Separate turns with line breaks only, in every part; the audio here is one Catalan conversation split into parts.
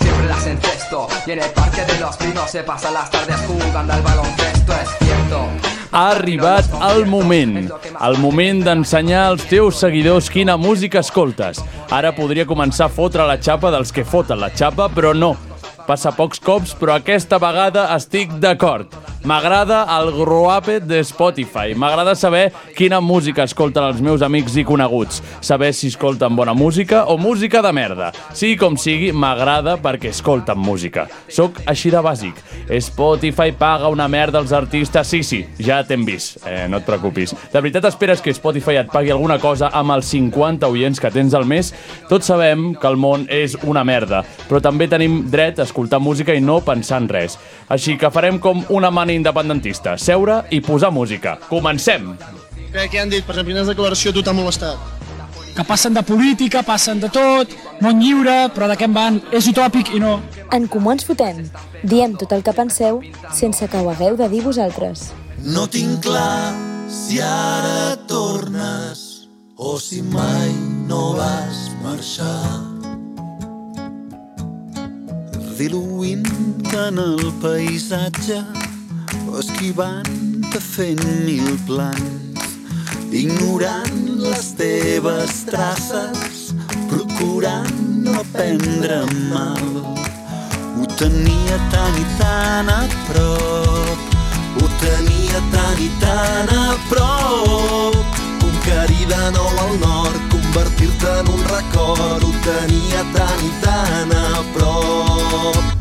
Siempre las encesto. Y en el parque de los pinos se pasan las tardes jugando al baloncesto, es cierto.
Ha arribat el moment, el moment d'ensenyar als teus seguidors quina música escoltes. Ara podria començar a fotre la xapa dels que foten la xapa, però no. Passa pocs cops, però aquesta vegada estic d'acord. M'agrada el groapet de Spotify. M'agrada saber quina música escolten els meus amics i coneguts. Saber si escolten bona música o música de merda. Sí, com sigui, m'agrada perquè escolten música. Soc així de bàsic. Spotify paga una merda als artistes. Sí, sí, ja t'hem vist. Eh, no et preocupis. De veritat esperes que Spotify et pagui alguna cosa amb els 50 oients que tens al mes? Tots sabem que el món és una merda, però també tenim dret a escoltar música i no pensar en res. Així que farem com una mani independentista, seure i posar música. Comencem!
Què, què han dit? Per exemple, quina declaració a tu t'ha molestat?
que passen de política, passen de tot, món lliure, però de què en van? És utòpic i no.
En Comú Ens Fotem. Diem tot el que penseu sense que ho hagueu de dir vosaltres.
No tinc clar si ara tornes o si mai no vas marxar. Diluint en el paisatge o esquivant-te fent mil plans, ignorant les teves traces, procurant no prendre mal. Ho tenia tan i tan a prop, ho tenia tan i tan a prop. Conquerir de nou el nord, convertir-te en un record, ho tenia tan i tan a prop.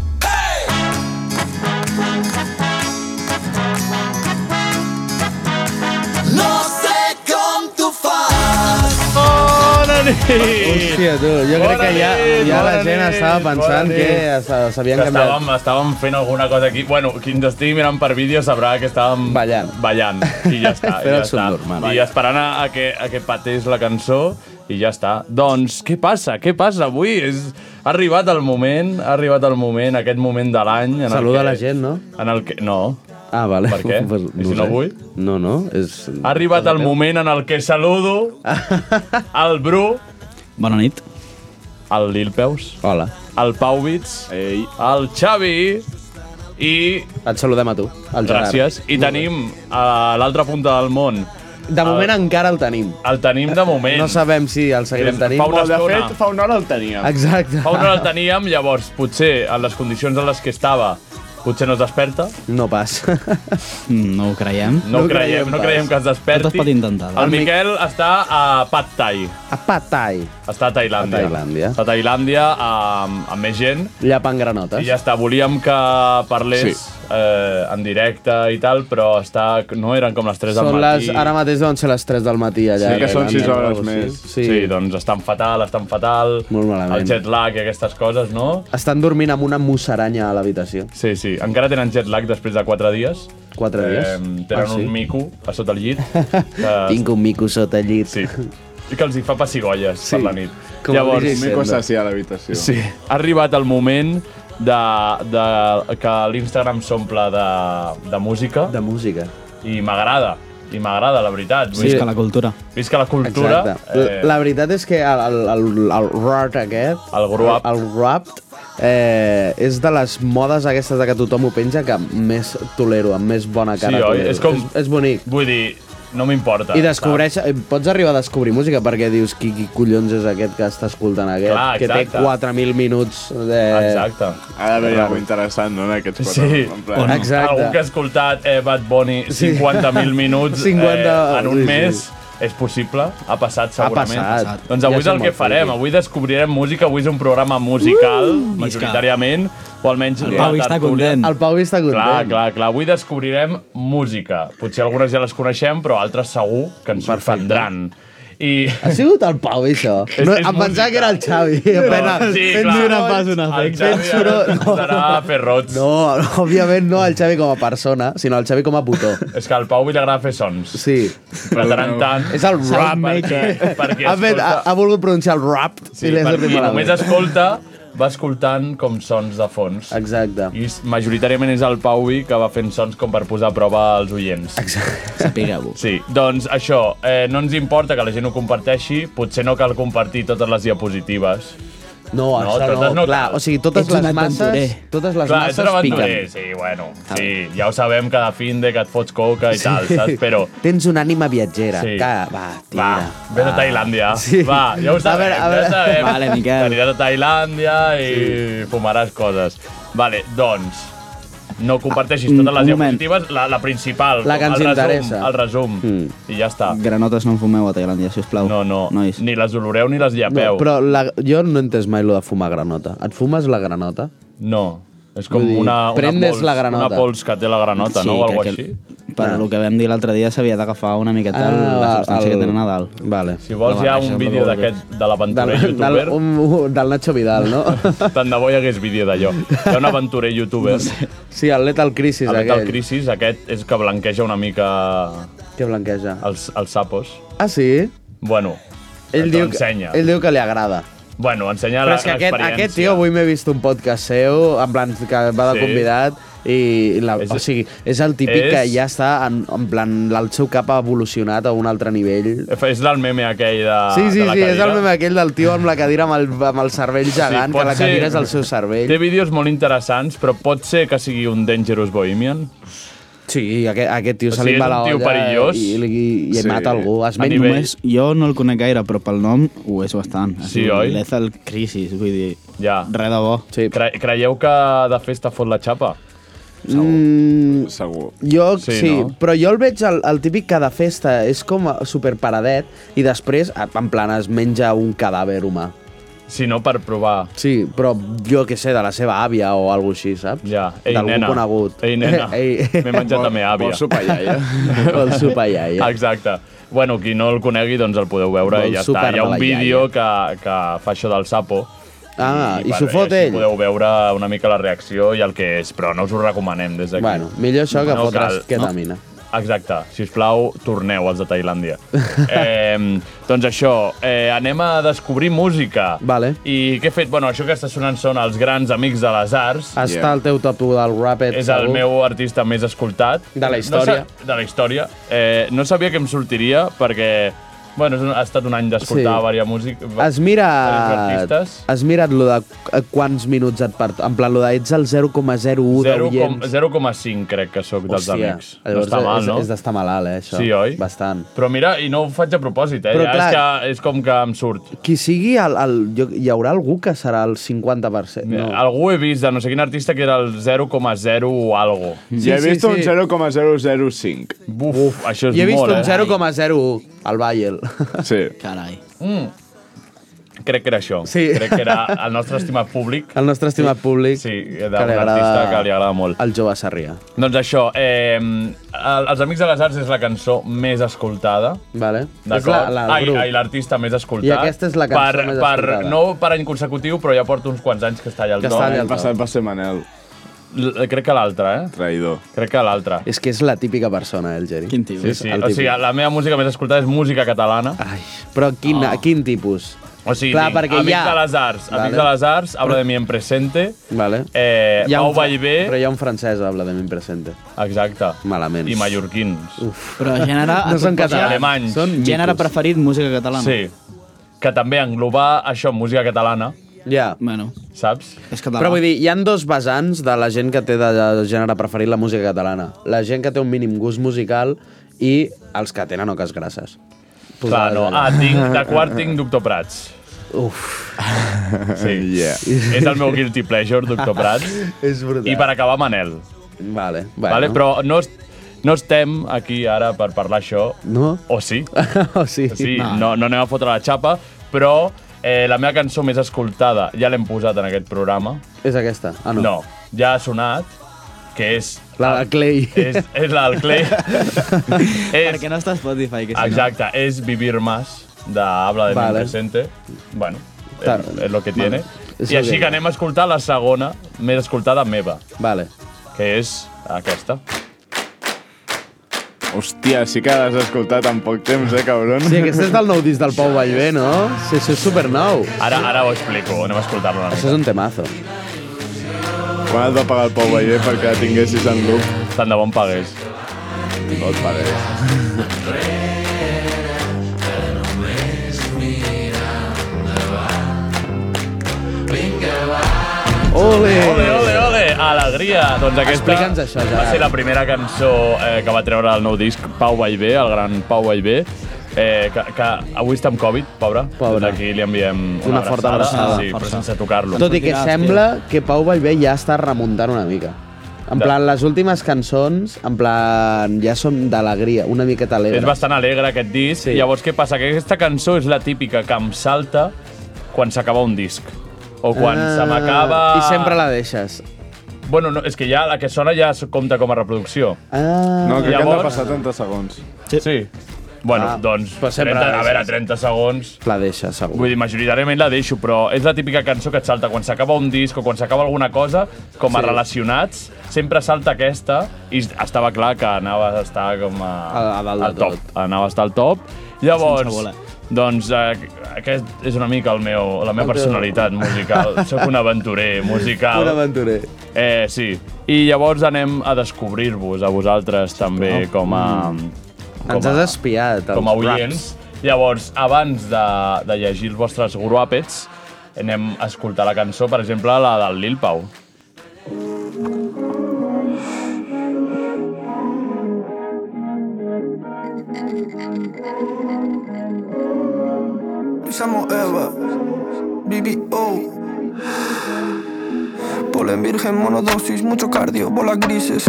No sé com tu fas,
Bona nit!
Hòstia, tu, jo crec
Bona
que ja,
nit,
ja la
bona
gent
nit,
estava pensant
bona
que
nit.
es- s'havien
Que
canviat.
estàvem, estàvem fent alguna cosa aquí. Bueno, qui ens estigui mirant per vídeo sabrà que estàvem
Ballant.
ballant. I ja està.
Fent
i ja
el
està.
subnormal.
I esperant a, a, que, a que patés la cançó i ja està. Doncs què passa? Què passa avui? És... Ha arribat el moment, ha arribat el moment, aquest moment de l'any... en el
Saluda
que-
la gent, no?
En el que, no.
Ah, vale.
Per què? I si no
sé.
vull?
No, no, és...
Ha arribat el moment en el que saludo el Bru,
Bona nit.
el Lil Peus,
Hola,
el Pau Bits,
Ei.
el Xavi i...
et saludem a tu, el Gerard.
Gràcies. I tenim a l'altra punta del món.
De moment encara el tenim.
El tenim de Ah. moment.
No sabem si el seguirem
És-
tenint.
fa una estona.
fa una hora el teníem.
Exacte.
Fa una hora el teníem, llavors, potser en les condicions en les que estava, potser no es desperta.
No pas.
Mm, no ho creiem.
No,
No
ho
creiem
creiem, no
pas.
creiem que es desperti.
Tot es pot intentar, doncs.
El Miquel està a Pad Thai.
A Patai.
Està a Tailàndia.
A Tailàndia.
Està a Tailàndia, amb, amb més gent.
Llapant granotes.
I ja està, volíem que parlés eh, en directe i tal, però està, no eren com les 3 del
Són
matí.
les, ara mateix deuen ser les 3 del matí allà. eh,
Sí, que són
Irlanda,
sis
o
hores
alguna cosa així.
més.
Sí. sí, doncs estan fatal, estan fatal.
Molt malament.
El jet lag i aquestes coses, no?
Estan dormint amb una mussaranya a l'habitació.
Sí, sí. Encara tenen jet lag després de 4 dies.
Quatre dies?
tenen
Ah, sí?
un mico a sota el llit. Que...
Tinc un mico sota el llit.
Sí. I que els hi fa pessigolles sí. per la nit.
Com el
Llavors,
DJ Mico Sassi
a l'habitació.
sí, ha arribat el moment de, de, que l'Instagram s'omple de, de música
De música.
i m'agrada. I m'agrada, la veritat.
Sí.
Vull dir,
Visca la cultura.
Visca la cultura.
Exacte. Eh... La veritat és que el, el, el, el rot aquest,
El gruap.
el gruapt, eh, és de les modes aquestes de que tothom ho penja que més tolero, amb més bona cara
Sí, oi?
tolero.
És com-
és, és bonic.
eh, Vull dir, no m'importa.
I descobreix, eh, pots arribar a descobrir música perquè dius qui, qui collons és aquest que està escoltant aquest,
Clar,
que té
exacte.
4.000 minuts de...
saps? Exacte.
Ha d'haver algú interessant, no?, en aquests quatre.
Sí.
En plan,
Exacte.
Algú que ha escoltat eh, Bad Bunny
Sí.
50.000 minuts
50,
eh, en un
sí, sí.
mes, és possible? Ha passat, segurament.
passat.
Doncs avui
Ja
és el
som
que
al
farem.
friki.
Avui descobrirem música. Avui és un programa musical, uh, majoritàriament, o almenys...
El
la
Pau està
tertúlia.
content.
El Pau està content.
Clar, clar, clar. Avui descobrirem música. Potser algunes ja les coneixem, però altres segur que ens sorprendran. I...
Ha sigut el Pau, això?
És-
no,
és
em pensava
música.
que era el Xavi. No, pena,
clar. El
fent
Xavi ara
soroll.
Serà a fer rots.
No, òbviament no el Xavi com a persona, sinó el Xavi com a botó.
És que al Pau li agrada fer sons.
Sí.
De tant en tant.
És el rap.
Perquè, perquè
ha, fet, ha, ha volgut pronunciar el rap
Sí,
i l'he
perquè
sentit
només
malament.
escolta, va escoltant com sons de fons.
Exacte.
I s- majoritàriament és el Pauvi que va fent sons com per posar a prova als oients.
Sapigueu-ho.
Sí, doncs això, eh, no ens importa que la gent ho comparteixi, potser no cal compartir totes les diapositives.
No,
No,
això no,
totes no
clar.
cal.
O sigui, totes
Ets un
les masses,
aventurer.
totes les
Clar, ets un
masses
aventurer,
piquen.
sí, bueno, sí, ja ho sabem cada fin de que et fots coca i sí. tal, saps? Però
Tens una ànima viatgera.
Sí.
Sí. Que, va, tira.
Va, ves a Tailàndia. Sí. Va, ja ho
A
sabem,
veure, a
ja
veure.
ho sabem.
Vale,
Miquel.
Aniràs a Tailàndia i sí. fumaràs coses. Vale, doncs, no
Ah,
comparteixis totes les
un moment.
diapositives, la, la principal,
La que ens
el resum,
interessa.
el resum,
Hmm.
mm. i ja està.
Granotes no en fumeu a Tailàndia, sisplau. No,
no.
Nois.
Ni les oloreu ni les
No,
llapeu.
però la, jo no he entès mai lo de fumar granota. Et fumes la granota?
No, és com
Vull dir,
una, una,
prendes
pols,
la granota.
una pols que té la granota, no? O
crec
algo
que
així.
Per
Ah.
ah. el que vam dir l'altre dia s'havia d'agafar una miqueta
Ah,
ah, la substància
el-
el... que tenen a dalt.
Vale.
Si vols, hi ha un vídeo d'aquest de l'aventurer
Del,
youtuber.
del, un, un- del Nacho Vidal, no?
Tant de bo hi hagués vídeo d'allò. Hi ha un aventurer youtuber. No sé.
Sí, el Lethal Crisis,
El Metal
aquell.
Crisis, aquest és que blanqueja una mica...
Què blanqueja?
Els, els sapos.
Ah, sí?
Bueno,
Ell
t'ho
diu, que,
ensenya.
ell diu que li agrada.
Bueno, ensenya
Però és que aquest,
l'experiència.
aquest tio, avui m'he vist un podcast seu, en plan, que va
Sí.
de convidat, i la, és, o sigui, és el típic
és-
que ja està, en, en plan, el seu cap ha evolucionat a un altre nivell.
És del meme aquell Ah, de,
sí, sí,
de la
sí,
cadira.
és el meme aquell del tio amb la cadira, amb el, amb el cervell gegant,
pot
que la
ser-
cadira és el seu cervell.
Té vídeos molt interessants, però pot ser que sigui un Dangerous Bohemian.
Sí, aquest, aquest tio
O
se
sigui,
li
és
va la
un tio
olla
perillós.
i, i, i, i
Sí.
sí. mata algú. Es ment
Només, jo no el conec gaire, però pel nom ho és bastant. És
Sí,
un
oi?
Lethal Crisis, vull dir,
Ja.
res de bo.
Sí.
Cre creieu que de festa fot la xapa?
Mm,
Segur.
Jo,
Sí,
sí, sí
no?
no? però jo el veig el, el típic que de festa és com superparadet i després, a- en plan, es menja un cadàver humà.
Si no, per provar.
Sí, però jo que sé, de la seva àvia o alguna així, saps?
Ja. Ei,
D'algú
nena.
conegut.
Ei, nena. M'he menjat la meva àvia.
Vols sopar, iaia?
Vol sopar iaia.
Exacte. Bueno, qui no el conegui, doncs el podeu veure
Vol
i ja està.
sopar
Hi ha un
la
vídeo que, que fa això del sapo.
Ah, i
bueno,
s'ho fot
i així
ell?
Podeu veure una mica la reacció i el que és, però no us ho recomanem des d'aquí.
Bueno, millor això que
No cal.
fotre's ketamina.
Exacte, si us plau, torneu als de Tailàndia. eh, doncs això, eh, anem a descobrir música.
Vale.
I què he fet? Bueno, això que està sonant són els grans amics de les arts.
Està al teu top 1 del Rapid,
És el meu artista més escoltat.
De la història.
No sa- de la història. Eh, no sabia que em sortiria perquè... Bueno, és un, ha estat un any d'escoltar
Sí.
sí. varia música.
Has mirat, has mirat lo de qu- quants minuts et part... En plan, lo de ets el 0,01 d'oients.
0,5 crec que sóc dels
Hòstia,
amics. No
llavors
està mal,
és,
no?
És d'estar malalt, eh, això.
Sí, oi?
Bastant.
Però mira, i no ho faig a propòsit, eh?
Però
ja
clar-
és, que, és com que em surt.
Qui sigui, el, el, jo, hi haurà algú que serà el 50%.
No.
No.
Algú he vist de no sé quin artista que era el 0,0 o algo.
Sí, ja he vist un 0,005.
Buf, Uf, això és
Jo he vist
molt,
un
eh?
0,01 al Bayern.
Sí.
Carai.
Mm. Crec que era això.
Sí.
Crec que era el nostre estimat públic.
El nostre estimat públic,
Sí, d'un
que li
artista
agrada-
que li agrada molt.
el jove Sarrià.
Doncs això, eh, el- Els Amics de les Arts és la cançó més escoltada.
Vale? És
D'acord?
la, la, del
Ai,
grup.
ai, l'artista més escoltat.
I aquesta és la cançó
per,
més
per,
escoltada.
No per any consecutiu, però ja porto uns quants anys que està allà al
Que
dol.
està allà al
L'any passat va ser Manel,
L- Crec que l'altra, eh?
traïdor.
Crec que l'altra.
És que és la típica persona, eh, el Geri.
Quin tipus.
Sí, sí. O sigui, la meva música més escoltada és música catalana.
Ai, però quin, oh. quin tipus?
O sigui,
Clar,
tinc
perquè
Amics
hi ha-
de les Arts, Amics
Vale.
de les Arts, Habla de mi en presente,
Vale.
eh,
Hi ha
Pau
un fra-
Vallvé,
Però hi ha un francès, habla de mi presente.
exacte,
Malament.
i mallorquins.
Però gènere... a
No
tot posar-
són catalans.
alemanys.
Són
Gènere
micos.
preferit, música catalana.
Sí. Que també englobar això en música catalana,
Ja.
Bueno,
saps?
és català.
Però vull dir, hi han dos vessants de la gent que té de gènere preferit la música catalana. La gent que té un mínim gust musical i els que tenen oques grasses.
Clar, no. Ah, tinc, de quart tinc Doctor Prats.
Uf,
Sí.
Yeah.
És el meu guilty pleasure, Doctor Prats.
és brutal.
I per acabar, Manel.
Vale, bueno.
Vale? Però no, es- no estem aquí ara per parlar això.
No?
O sí.
o sigui,
Sí, no, no anem a fotre la xapa, però eh, la meva cançó més escoltada ja l'hem posat en aquest programa.
és aquesta. Ah, no.
No, ja ha sonat, que és...
La de Clay.
És, és la del Clay. és,
Perquè no està a Spotify, que si
exacte, és Vivir Más, de Habla de
Vale.
vale. Presente. Bueno,
Tal.
és, és lo que tiene.
És
I
lo
així
que-
que anem a escoltar la segona, més escoltada meva,
Vale.
que és aquesta.
Hòstia, sí que l'has escoltat en poc temps, eh, cabron?
Sí, aquest és del nou disc del Pau Vallvé, no? Sí, això és supernou.
Ara, ara ho explico, anem a escoltar-lo una mica.
Això és un temazo.
Quan et va pagar el Pau Vallé perquè la tinguessis en grup?
Tant de bon pagués.
No et pagués.
Ole!
Ole, ole, ole! Alegria! Doncs aquesta
Explica'ns això,
va
Gerard.
ser la primera cançó eh, que va treure el nou disc Pau Vallvé, el gran Pau Vallvé, eh, que, que avui està amb Covid, pobre.
Pobre.
Des d'aquí li enviem una,
Una forta abraçada.
Sí, però
Força.
sense tocar-lo.
Tot i que sembla que Pau Vallvé ja està remuntant una mica. En
De-
plan, les últimes cançons, en plan, ja són d'alegria, una miqueta alegre.
És bastant alegre aquest disc.
Sí.
Sí. Llavors, què passa? Que aquesta cançó és la típica que em salta quan s'acaba un disc. O quan
Ah,
se m'acaba...
I sempre la deixes.
Bueno, no, és que ja la que sona ja es compta com a reproducció.
Ah,
No, crec que han de
Llavors-
passar 30 segons.
Sí. sí. Bueno,
Ah,
ah, doncs,
però
30,
sempre la
a veure,
deixes.
30 segons...
la deixes, segur.
Vull dir, majoritàriament la deixo, però és la típica cançó que et salta quan s'acaba un disc o quan s'acaba alguna cosa, com a
Sí.
relacionats, sempre salta aquesta i estava clar que anava a estar com a,
A- a dalt
al
de
top.
tot.
Anava a estar al top.
voler.
Llavors, doncs eh, aquest és una mica el meu, la meva
teu-
personalitat musical. Soc un aventurer musical.
Un aventurer.
Eh, sí. I llavors anem a descobrir-vos a vosaltres també com a...
Mm.
Com
Ens has espiat. els
com a
raps.
oients. Llavors, abans de, de llegir els vostres gruapets, anem a escoltar la cançó, per exemple, la del Lil Pau.
Samoeva, BBO. Polen virgen, monodosis, mucho cardio, bolas grises.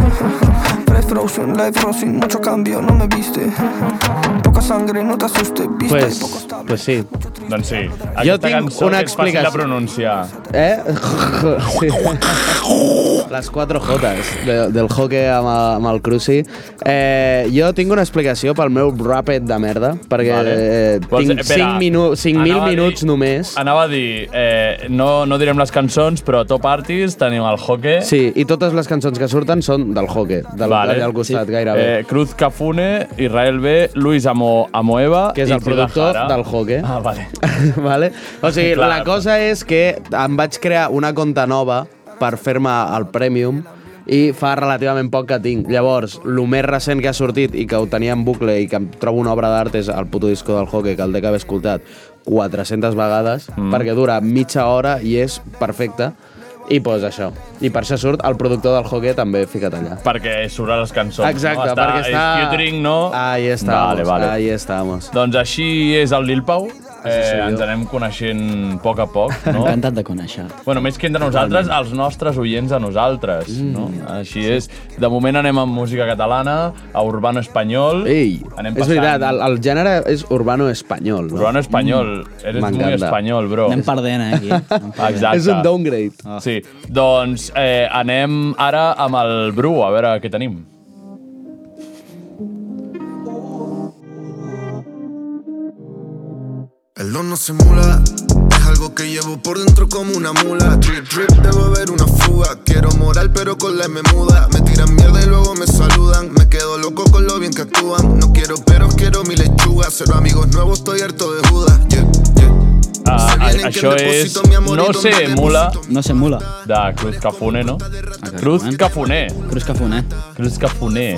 Fresh frozen, life rosin, mucho cambio, no me viste. Poca sangre, no te asustes, viste.
Pues,
poco estable.
pues sí.
Doncs sí, aquesta
tinc
cançó
una
que és fàcil
explicació.
de pronunciar.
Eh? Sí. Les 4 Jotes de, del hockey amb, el- amb el Cruci. Eh, jo tinc una explicació pel meu rapet de merda, perquè vale. eh,
Vols-
tinc
espera,
5 minu
anava
5.000
a dir-
minuts només.
Anava a dir, eh, no, no direm les cançons, però Top Artist, tenim el hockey.
Sí, i totes les cançons que surten són del hockey, del, vale. d'allà al costat, sí. gairebé.
Eh, Cruz Cafune, Israel B, Luis Amo, Amoeva...
Que és
i
el productor
Kudahara.
del hockey.
Ah, vale.
vale? O sigui,
Clar.
la cosa és que em vaig crear una conta nova per fer-me el Premium i fa relativament poc que tinc. Llavors, el més recent que ha sortit i que ho tenia en bucle i que em trobo una obra d'art és el puto disco del hockey que el dec haver escoltat 400 vegades mm. perquè dura mitja hora i és perfecte i pues això. I per això surt el productor del hockey també ficat allà.
Perquè surt a les cançons.
Exacte,
no? està,
perquè està...
És featuring, no?
Ahí estamos,
Vale, vale.
ahí estamos.
Doncs així és el Lil Pau.
soy
Eh,
yo.
ens anem coneixent a poc a poc, no?
Encantat de conèixer-te.
bueno, més que entre nosaltres, els nostres oients a nosaltres,
Mm.
no? Així és. De moment anem amb música catalana, a Urbano Espanyol.
Ei,
anem
és veritat, el, el gènere és urbano espanyol. No?
Urbano Espanyol. Eres muy
m'encanta.
espanyol, bro.
Mm. Anem perdent, eh, aquí. Anem perdent.
Exacte.
És un downgrade.
Sí, doncs eh, anem ara amb el Bru, a veure què tenim.
El don no se mula, es algo que llevo por dentro como una mula. Drip, drip, debo haber una fuga. Quiero moral, pero con la me muda. Me tiran mierda y luego me saludan. Me quedo loco con lo bien que actúan. No quiero peros, quiero mi lechuga. Cero amigos nuevos, estoy harto de Judas. Yeah, yeah.
Ah, a-
vienen que
això és
deposito mi amor y
No
donde
sé,
deposito
mula,
No sé, mula.
de Cruz Cafune, no?
Ah,
Cruz Cafuné.
Cruz Cafuné.
Cruz Cafuné.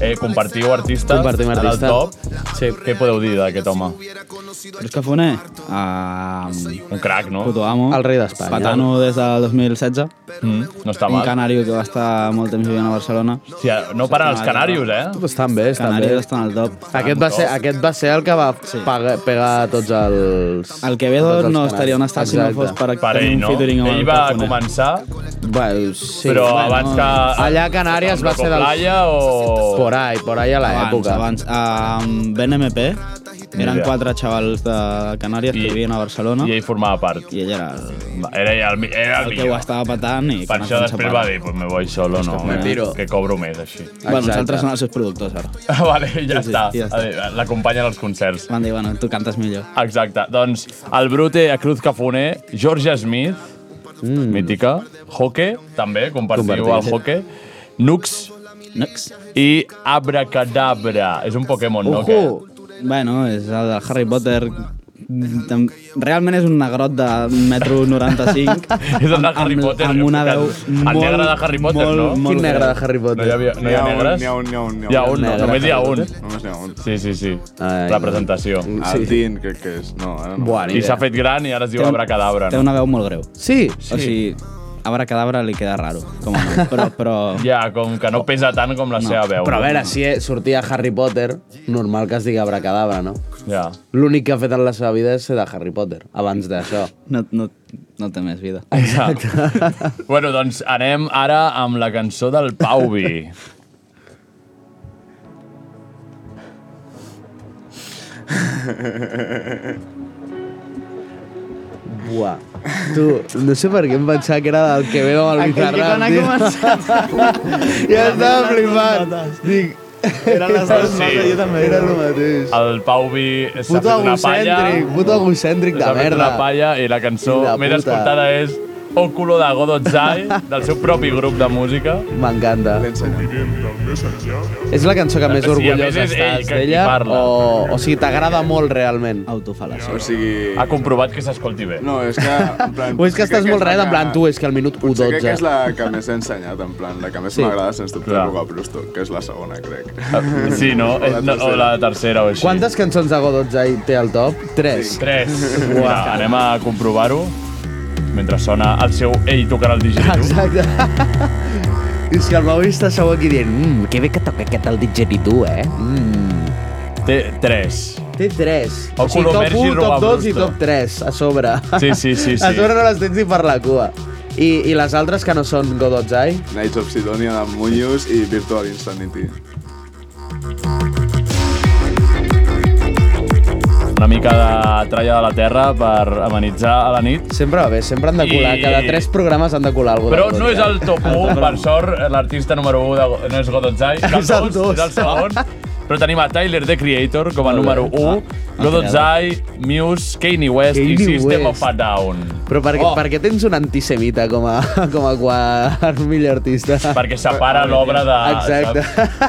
Eh, compartiu artistes
Compartim
en el
artista.
top. Sí. Què podeu dir d'aquest home?
Cruz Cafuné. Ah,
Un crack, no?
puto amo.
El rei d'Espanya.
Patano des del 2016.
Mm, no està
Un
mal.
canari que va estar molt temps vivint a Barcelona.
Hòstia, no paren els canarios, eh?
Estan bé, estan
Canari
bé.
estan al top.
Aquest va, ser, aquest va ser el que va pagar, pegar tots els...
El Quevedo
tots els
no
canals.
estaria on està si no
Exacte.
fos per,
Per
tenir
ell,
un
no?
featuring amb
Ell
el
va
Cafuné.
començar,
Bueno, sí.
però
bueno,
abans que...
Allà a Canàries va ser del...
Playa o...
Por ahí, por ahí a
Abans,
l'època.
abans. Um, ben MP,
Ni
Eren
idea.
quatre xavals de Canàries que vivien a Barcelona. I
ell formava part.
I ell era el,
Era ja el, mi- era el,
el que ho
millor.
estava patant. I
Per
quan es
això
van
després
separar-
va dir, pues me voy solo, no, eh,
Me tiro.
que cobro més, així.
Bueno, nosaltres som els seus productors, ara.
Ah, vale, ja
Sí, sí,
està.
ja està.
Adéu, L'acompanyen als concerts.
Van dir, bueno, tu cantes millor.
Exacte. Doncs el Brute a Cruz Cafuné, Georgia Smith, mm. mítica, Hoque, també, compartiu el
Comparteix.
Hoque, Nux,
Nux
i Abracadabra. És un Pokémon, no?
Ojo! Bueno, és el de Harry Potter. Tam- Realment és un negrot de 1,95 m.
És el de Harry Potter.
Amb una veu
El
molt,
negre de Harry Potter,
molt,
no?
molt greu.
No hi, havia, no hi ha
N'hi ha un,
negres?
n'hi ha un, n'hi ha un, n'hi ha
Hi ha
un.
un, no,
Negre
només hi ha
Harry
un.
Potter? Només n'hi ha un.
Sí, sí, sí. La presentació.
El Dean, crec que és. No, ara no.
I s'ha fet gran i ara es diu
Té un-
Abracadabra.
Té
no?
una veu molt greu.
Sí?
O sigui, Abracadabra li queda raro, com a nom. Però, però
Ja, com que no pesa tant com la seva veu.
Però a
no?
veure, si sortia Harry Potter, normal que es digui abracadabra, no?
Ja.
L'únic que ha fet en la seva vida és ser de Harry Potter, abans d'això.
no, no, no té més vida.
Bueno, doncs anem ara amb la cançó del Pauvi.
Buah. Tu, no sé per què em pensava que era del que ve amb el
Aquell que
Bizarrap,
quan ha
tio. ja estava flipant. Dic...
Eren les dues notes, jo també.
Era el mateix.
El Pauvi s'ha
Puto
fet una palla.
egocèntric, puto egocèntric de
S'ha fet
merda.
una palla i la cançó
Fill de
més
puta.
escoltada és Oculo de Godotzai, del seu propi grup de música.
M'encanta. És la cançó que més
Sí, a més
orgullós
és ell
estàs
que- qui
d'ella?
parla.
O, o sigui, t'agrada molt realment?
Autofalació.
O sigui...
Ha comprovat que s'escolti bé.
No, és que... En plan,
Ah, O és que
potser
estàs
crec
molt
és la
red, en plan, tu, és que al minut
Potser crec que és
1.12.
la que més he ensenyat, en plan, la que més
Sí.
m'agrada, sens dubte,
Clar.
és Ruga Brewstock, que és la segona, crec.
Sí, no?
O la
És- no, O
tercera.
la tercera o així.
Quantes cançons de Godotza hi té al top? Tres.
Tres.
Uau.
Mira, anem a comprovar-ho mentre sona el seu Ell tocarà el digitu.
Exacte. és que el Mau està segur aquí dient mmm, que bé que toca aquest el didgeridoo, eh? Mm.
Té tres.
Té tres.
El
top
Colomergi
1,
roba
top 2 i
brusto.
top 3, a sobre.
Sí, sí, sí,
A
sí.
sobre no les tens ni per la cua. I, i les altres que no són Godotzai?
Nights of Sidonia de Muñoz i Virtual Insanity.
Una mica de tralla de la terra per amenitzar a la nit.
Sempre va bé, sempre han de colar.
I-
Cada tres programes han de colar alguna
Però no és el top 1, per sort, l'artista número 1 de, no és Godotzai, és el,
És
2,
el
és el
dos. Ah.
segon. Però tenim a Tyler, The Creator, com a
Molt bé.
número 1,
Ah,
Godotzai, Muse, Kanye West i
Kanye
System
West.
of a Down.
Però per, oh. per què tens un antisemita com a, com a quart millor artista?
Perquè separa l'obra de...
Ah, Exacte.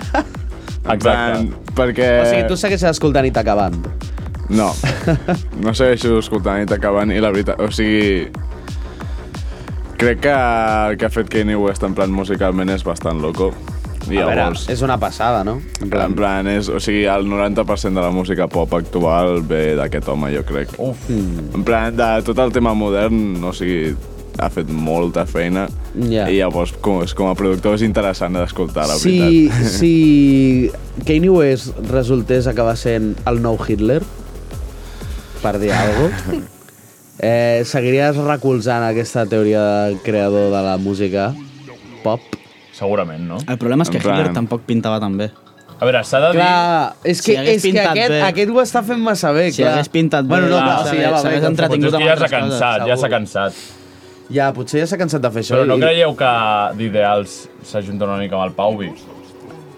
Exacte.
perquè...
O sigui, tu segueixes escoltant Itaca Band.
No, no segueixo escoltant i t'acaben, i la veritat, o sigui... Crec que el que ha fet Kanye West en plan musicalment és bastant loco. I
A veure,
llavors,
és una passada, no?
en plan, en plan és, o sigui, el 90% de la música pop actual ve d'aquest home, jo crec.
Uf.
En plan, de tot el tema modern, o sigui, ha fet molta feina
Ja.
i llavors com, és, com a productor és interessant d'escoltar, la
si,
veritat.
si Kanye West resultés acabar sent el nou Hitler, per dir alguna cosa, eh, seguiries recolzant aquesta teoria del creador de la música pop?
Segurament, no?
El problema és que
En plan-
Hitler tampoc pintava tan bé.
A veure, s'ha de dir...
Clar, és que,
Si hagués
és que
pintat
aquest,
bé.
aquest ho està fent massa bé,
Si
clar.
hagués pintat bé,
bueno, no,
clar,
clar, sí, ja va
s'hagués
bé.
entrat-
Potser és
entretingut
que
amb
ja s'ha
altres coses,
cansat, ja s'ha
segur.
cansat.
Ja, potser ja s'ha cansat de fer això.
Però no
i-
creieu que d'ideals s'ajunta una mica amb el Pauvi?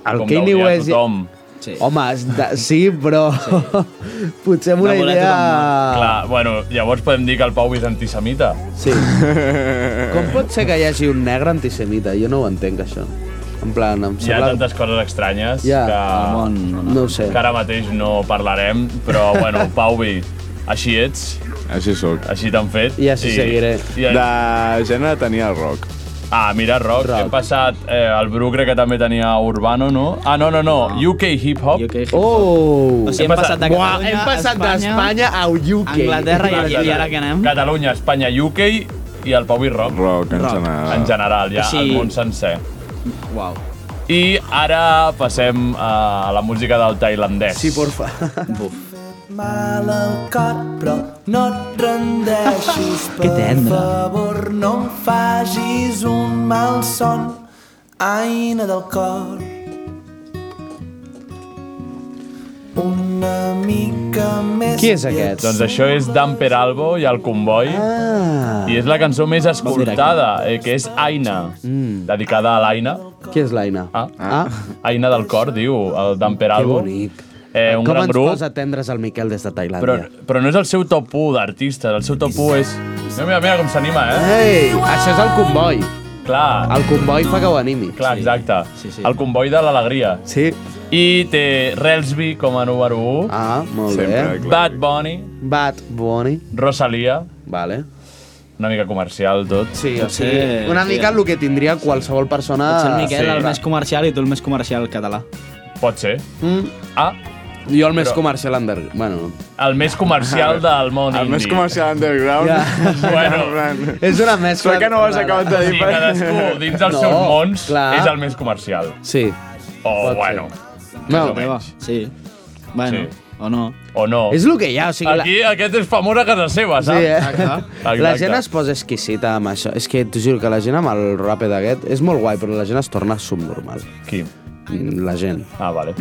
El
Com
Kanye
veuria
West-
Tothom.
Sí.
Home, és de, sí, però... Sí. potser amb
Va
una
voler
idea... Ah.
Clar, bueno, llavors podem dir que el Pauvi és antisemita.
Sí. Com pot ser que hi hagi un negre antisemita? Jo no ho entenc, això. En plan, em
Hi ha
sembla...
tantes coses estranyes
Ja.
que...
El món... No.
No ho sé.
que ara mateix no parlarem, però bueno, Pauvi, així ets,
Així sóc.
així t'han fet.
I així seguiré.
I,
De gènere tenia el rock.
Ah, mira, rock,
Rock.
hem passat eh, el Bru, crec que també tenia Urbano, no? Ah, no, no, no, UK Hip Hop.
UK hip-hop.
Oh!
O sigui,
Hem passat-
hem passat de
Buah,
Catalunya
hem passat
a Espanya,
d'Espanya a UK.
Anglaterra i, i ara que anem?
Catalunya, Espanya, UK i el Pauvi Rock,
Rock, en
Rock.
general.
en general, ja,
Així-
el món sencer.
Uau.
I ara passem eh, a la música del tailandès.
Sí, porfa.
Buf.
Mal el cor, però no et rendeixis,
Que tendre.
favor, no em facis un mal son, aina del cor. Una mica
Qui és aquest?
Doncs això és Dan Peralbo i el Convoi. Ah. I és la cançó més escoltada, eh, que és Aina, mm. dedicada a l'Aina.
Qui és l'Aina?
Ah. ah. Aina del Cor, diu el Dan Peralbo.
Que bonic.
Eh, un
Com
gran
ens
grup,
posa tendres el Miquel des de
però,
Tailàndia?
però no és el seu top 1 d'artistes, el seu top 1 és... Mira, mira, mira com s'anima, eh?
Ei, això és el Convoi.
Clar.
El Convoi fa que ho animi.
Clar, exacte. Sí, sí. El Convoi de l'Alegria.
Sí.
I té Relsby com a número 1.
Ah, molt bé. Sempre, clar.
Bad Bunny.
Bad Bunny.
Rosalia.
Vale.
Una mica comercial tot.
Sí, o sigui, una mica el que tindria qualsevol persona...
Potser el Miquel, sí. el més comercial, i tu el més comercial català.
Pot ser.
Mm.
Ah.
Jo el més
Però-
comercial under... Bueno.
El més comercial del món
El més
indi.
comercial underground.
Ja.
bueno.
És una mescla...
Sort que no ho has acabat de dir.
Sí,
per-
cadascú dins dels
No,
no, seus mons
clar.
és el més comercial.
Sí.
O, oh, bueno,
No,
Teva, sí. Bueno,
Sí.
o no.
o no.
és el que hi ha, o sigui... la-
Aquí aquest és famós a casa seva,
Sí,
saps?
eh?
Exacte.
La gent es posa exquisita amb això. És que t'ho juro que la gent amb el rap d'aquest és molt guai, però la gent es torna subnormal.
Qui?
Mm, La gent.
Ah, vale.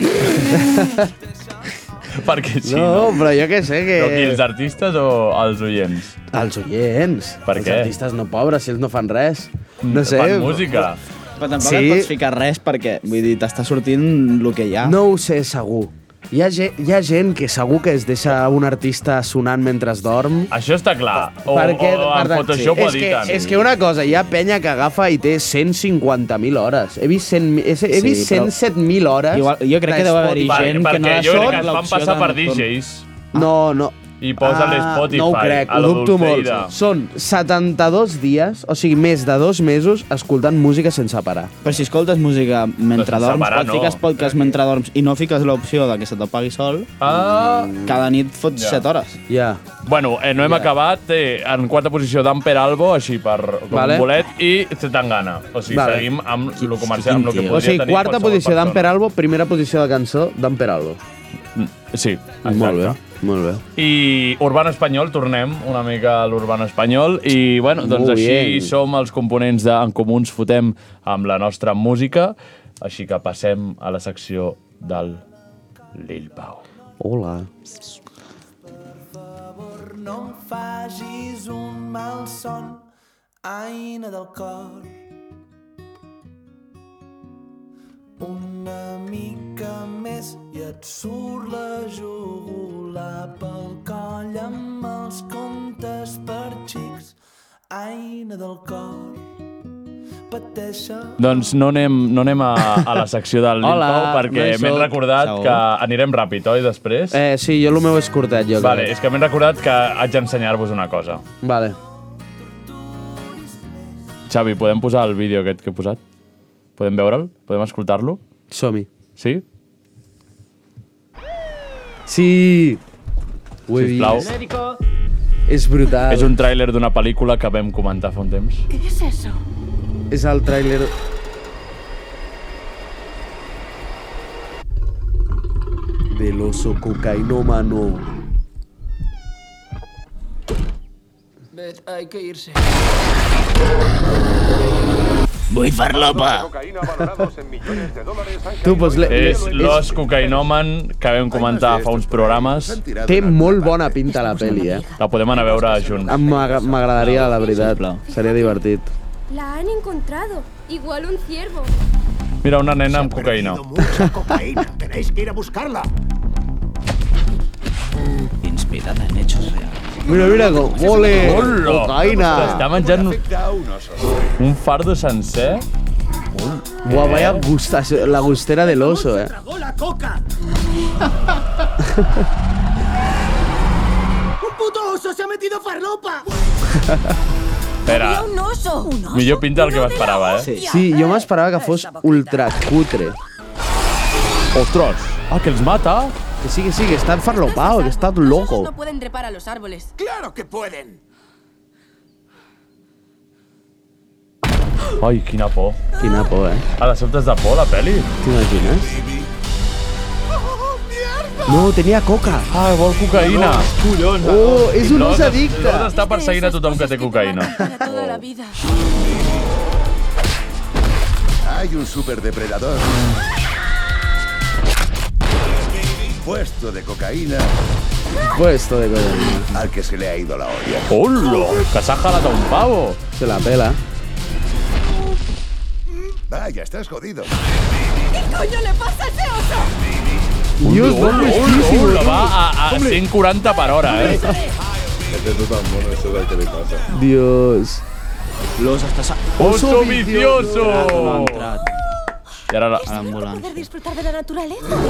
Perquè sí,
no,
no?
però jo què sé, que...
Però qui, els artistes o els oients?
Els oients.
Per
els
què? Mm.
artistes no pobres, si ells no fan res. No sé.
Fan música.
Però tampoc
Sí.
sí. et pots ficar res perquè, vull dir, t'està sortint el que hi ha.
No ho sé, segur. Hi ha, ge hi ha gent que segur que es deixa un artista sonant mentre es dorm.
Això està clar. O, o Oh, en
perdó,
Photoshop
sí.
ho
és que,
editen.
és que una cosa, hi ha penya que agafa i té 150.000 hores. He vist, 100, he, he
Sí,
vist
però-
107.000 hores.
Igual, jo crec que deu haver-hi
Per-
gent que
perquè
no ha
jo crec que es
sort
van
l'opció
passar
de
per
nocturn.
DJs
No, no.
i posa l'Spotify.
Ah, no ho crec,
a
ho
la
dubto molt.
Dulceida.
Són 72 dies, o sigui, més de dos mesos, escoltant música sense parar.
Però si escoltes música mentre
Doncs
dorms,
separar,
o et
no.
fiques podcast mentre dorms i no fiques l'opció de que se t'apagui sol,
Ah,
cada nit fots
Ja.
7 hores.
Ja.
Bueno, eh, no hem acabat eh, en quarta posició Dan Peralbo, així per com vale.
Vale.
un bolet, i Zetangana. O sigui,
Vale.
vale. seguim amb lo comercial, amb lo que
O
podria
sigui,
tenir
quarta
qualsevol
posició d'en
persona.
Peralbo, primera posició de cançó d'en Peralbo.
Sí, exacte.
Molt bé, molt bé.
I Urban Espanyol, tornem una mica a l'Urban Espanyol. I, bueno, doncs
Muy
Muy així
bien.
som els components de En Comuns Fotem amb la nostra música. Així que passem a la secció del Lil Pau.
Hola.
no em facis un mal son, aina del cor. Una mica més i et surt la jugula pel coll amb els contes per xics, aina del cor. Pateixa
Doncs no anem, no anem a, a la secció del Lil
Hola,
Pau,
no
perquè
hi
m'he
soc.
recordat
Segur.
que anirem ràpid, oi, després?
Eh, sí, jo el meu és curtet, jo
Vale,
crec.
és que m'he recordat que haig d'ensenyar-vos una cosa.
Vale.
Xavi, podem posar el vídeo aquest que he posat? Podem veure'l? Podem escoltar-lo?
Som-hi.
Sí?
Sí! Ho he
Sisplau.
vist. És brutal.
És un tràiler d'una pel·lícula que vam comentar fa un temps.
¿Qué es eso?
És el tràiler... Del oso cocainómano.
Bet, hay que irse.
Vull farlopa!
Tu, pues, le,
És l'os cocainoman que vam comentar fa uns programes.
té molt bona pinta la peli, eh?
La podem anar a veure junts.
Em m'agra- M'agradaria, la veritat. Seria divertit.
La han encontrado. Igual un ciervo.
Mira, una nena amb cocaïna.
Tenéis que ir a buscarla.
Inspirada en hechos reals.
Mira, mira, com... Ole! Cocaïna!
Està menjant un- un fardo sencer.
Buah, vaya gustazo, la gustera del oso, eh?
¡Tragó la coca! ¡Un puto oso se ha metido farlopa!
Espera,
¡Un oso! ¡Un oso!
millor pinta del que m'esperava, eh?
Sí, jo m'esperava que fos ultra cutre.
Ostres! Ah, que els mata!
Que sí, que sí, que està farlopao, que està loco.
No pueden trepar a los árboles.
¡Claro que pueden!
Ai, quina por.
Quina por, eh?
A de sobte és de por, la peli.
T'imagines? No, tenia coca.
Ah, vol cocaïna. Collons.
Oh, és un os addicte.
L'os està
Este
Este
perseguint a tothom que té cocaïna.
Para toda la vida.
Hay un superdepredador. Puesto de cocaína
Puesto de coño.
Al que se le ha ido la olla.
¡Hola! Que s'ha jalat a un pavo.
Se la pela.
Vaya, estás jodido.
¿Qué coño le pasa a ese oso?
Dios,
d'on
hola,
vestíssim,
eh?
hola, va a, a
Hombre.
140 per hora, eh?
És de tot el món, això és el que li passa.
Dios.
L'os està... Sa...
Oso vicioso!
No, no ha entrat.
I ara la...
Este
Poder disfrutar de la naturaleza.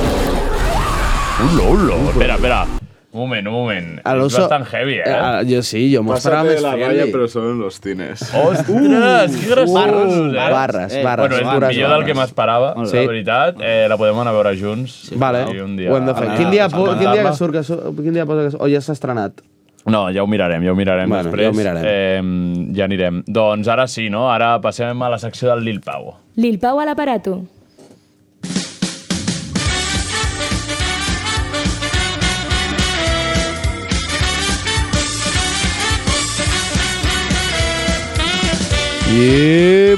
Hola, hola. Espera, espera. Un moment, un moment.
A
És
l'oso...
bastant heavy, eh?
Ah, jo sí, jo m'ho esperava
Pásate
més
la
friendly.
valla, però són los tines.
Uh,
Ostres, que graciosos, eh?
barres, barres,
Bueno, és millor
pures
del
barres.
que m'esperava,
Sí.
la veritat. Eh, la podem anar a veure junts. Sí.
Vale,
un dia.
ho hem de fer.
Ah,
Quin dia,
a
po- quin dia
presentar-la.
que surt? Que surt quin dia posa que surt? O ja s'ha estrenat?
No, ja ho mirarem, ja ho mirarem
Bueno,
després.
ja ho mirarem.
Eh, ja anirem. Doncs ara sí, no? Ara passem a la secció del Lil Pau.
Lil Pau a l'aparato.
I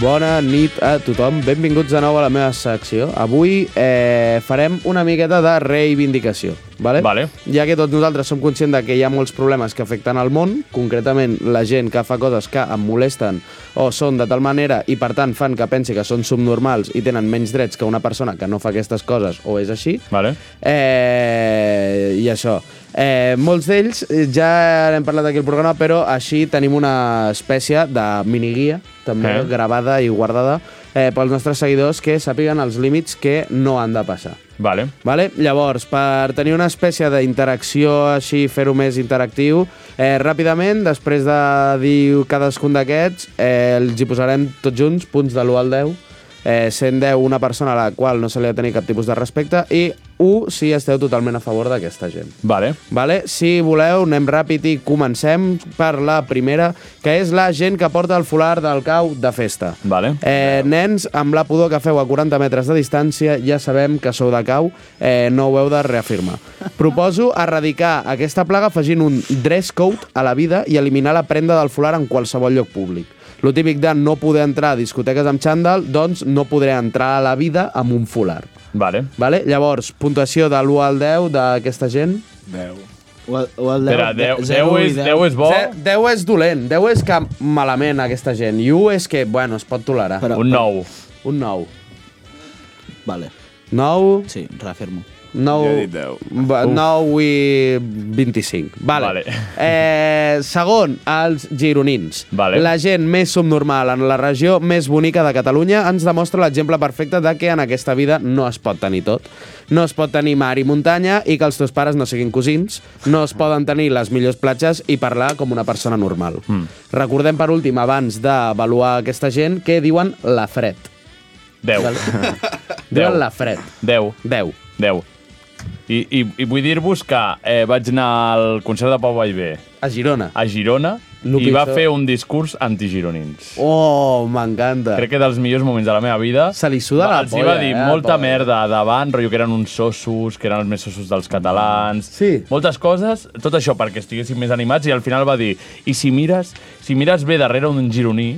bona nit a tothom. Benvinguts de nou a la meva secció. Avui eh, farem una miqueta de reivindicació, vale?
Vale.
ja que tots nosaltres som conscients de que hi ha molts problemes que afecten al món, concretament la gent que fa coses que em molesten o són de tal manera i per tant fan que pensi que són subnormals i tenen menys drets que una persona que no fa aquestes coses o és així.
Vale.
Eh, I això. Eh, molts d'ells eh, ja n'hem parlat aquí al programa, però així tenim una espècie de miniguia, també
Eh.
eh. gravada i guardada, eh, pels nostres seguidors que sàpiguen els límits que no han de passar.
Vale.
Vale? Llavors, per tenir una espècie d'interacció així, fer-ho més interactiu, eh, ràpidament, després de dir cadascun d'aquests, eh, els hi posarem tots junts punts de l'1 al 10, eh, 110 una persona a la qual no se li ha de tenir cap tipus de respecte i 1 si esteu totalment a favor d'aquesta gent.
Vale.
Vale? Si voleu, anem ràpid i comencem per la primera, que és la gent que porta el folar del cau de festa.
Vale.
Eh, nens, amb la pudor que feu a 40 metres de distància, ja sabem que sou de cau, eh, no ho heu de reafirmar. Proposo erradicar aquesta plaga afegint un dress code a la vida i eliminar la prenda del folar en qualsevol lloc públic. Lo típic de no poder entrar a discoteques amb xandall, doncs no podré entrar a la vida amb un folar.
Vale.
Vale? Llavors, puntuació de l'1 al 10 d'aquesta gent.
10.
O, o el
Espera, 10, 10, és, 10 és bo.
Ze- 10 és dolent, 10 és que malament aquesta gent, i 1 és que, bueno, es pot tolerar.
Però-
Un 9.
Un 9.
Vale.
9...
Sí, reafirmo.
9,
Jo he dit 10.
Va,
Uf.
9 i 25. Vale.
Vale.
Eh, segon, els gironins.
Vale.
La gent més subnormal en la regió més bonica de Catalunya ens demostra l'exemple perfecte de que en aquesta vida no es pot tenir tot. No es pot tenir mar i muntanya i que els teus pares no siguin cosins, no es poden tenir les millors platges i parlar com una persona normal.
Hmm.
Mm. Recordem, per últim, abans d'avaluar aquesta gent, que diuen la fred.
10.
Diuen la fred.
10.
10.
10. I, i, i vull dir-vos que eh, vaig anar al concert de Pau Vallvé
A Girona.
a Girona
Lo
i va
pitjor.
fer un discurs antigironins.
Oh, m'encanta.
Crec que dels millors moments de la meva vida.
Se li suda la
els
polla,
hi va dir
eh,
molta
Pau.
merda davant, rotllo que eren uns sossos, que eren els més sossos dels catalans... Sí. Moltes coses, tot això perquè estiguéssim més animats, i al final va dir, i si mires, si mires bé darrere un gironí,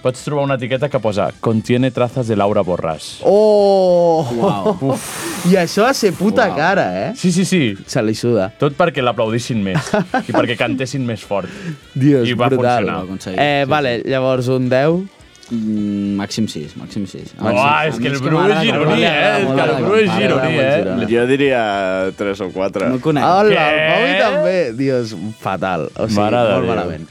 pots trobar una etiqueta que posa «Contiene trazas de Laura Borràs».
Oh!
Uau.
I això va ser puta wow. cara, eh?
Sí, sí, sí.
Se li suda.
Tot perquè l'aplaudissin més i perquè cantessin més fort.
Dios,
I va
brutal.
funcionar.
Eh, vale, llavors un 10.
Mm, màxim 6, màxim 6.
Uah, és que el Bru és gironí, eh? És que el Bru és gironí, eh?
Jo diria 3 o 4.
No conec.
Hola, el Pau i també. Dios, fatal. O sigui,
Mare de
molt
Déu.
malament.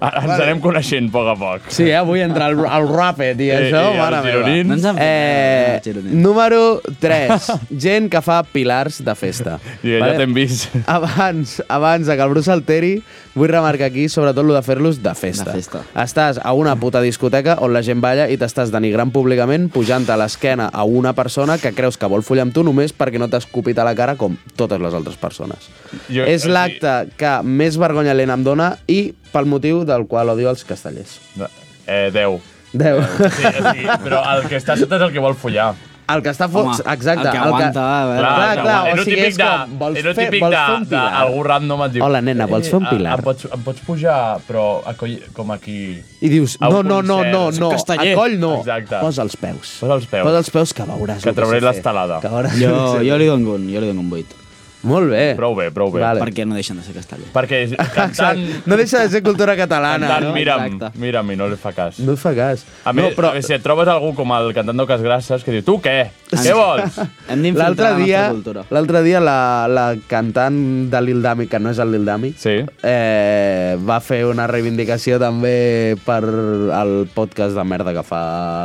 Ara ens anem coneixent a poc a poc.
Sí, eh? Vull entrar al, al ràpid i
Eh,
això,
i els
mare meva.
gironins? No ens han fet
eh, número 3. Gent que fa pilars de festa.
Ja, ja t'hem vist.
abans, abans de que el Bru s'alteri, vull remarcar aquí sobretot lo de fer-los de festa. De festa. Estàs a una puta discoteca on la gent balla i t'estàs denigrant públicament pujant a l'esquena a una persona que creus que vol follar amb tu només perquè no t'ha escupit a la cara com totes les altres persones.
Jo-
Jo, és
o sigui-
l'acte que més vergonya lent em dona i pel motiu del qual odio els castellers.
Eh, 10.
Deu.
Eh,
Sí, sí, però el que està sota és el que vol follar.
El que està fot... Exacte.
el que aguanta, a veure.
Clar, clar, clar,
és
o
lo
sigui,
típic
és
de-
com, vols
és lo
fer,
típic
vols
de-
fer un
de-
pilar.
Algú random et diu...
Hola, nena, vols
"Eh,
fer un
a-
pilar?"
Em pots, em pots pujar, però a coll, com aquí...
I dius,
a
no,
un
no, no,
concert.
no,
Soc
no,
casteller.
a coll no.
Exacte.
Posa els peus.
Posa els peus.
Posa els peus que veuràs.
Que
el
trauré
sé fer.
l'estelada.
Que veuràs.
Jo, jo li dono un, jo li dono un 8.
Molt bé.
Prou bé, prou bé.
Vale.
Perquè no deixen de ser castellers.
Perquè cantant...
No deixa de ser cultura catalana,
cantant,
no?
mira'm, mira'm i no li fa cas.
No et fa cas.
A més, no, però... si et trobes algú com el cantant d'Oques Grasses que diu, tu què? Què vols?
L'altre dia, l'altre dia la, la cantant de Lil Dami, que no és el Lil Dami,
sí.
eh, va fer una reivindicació també per el podcast de merda que fa...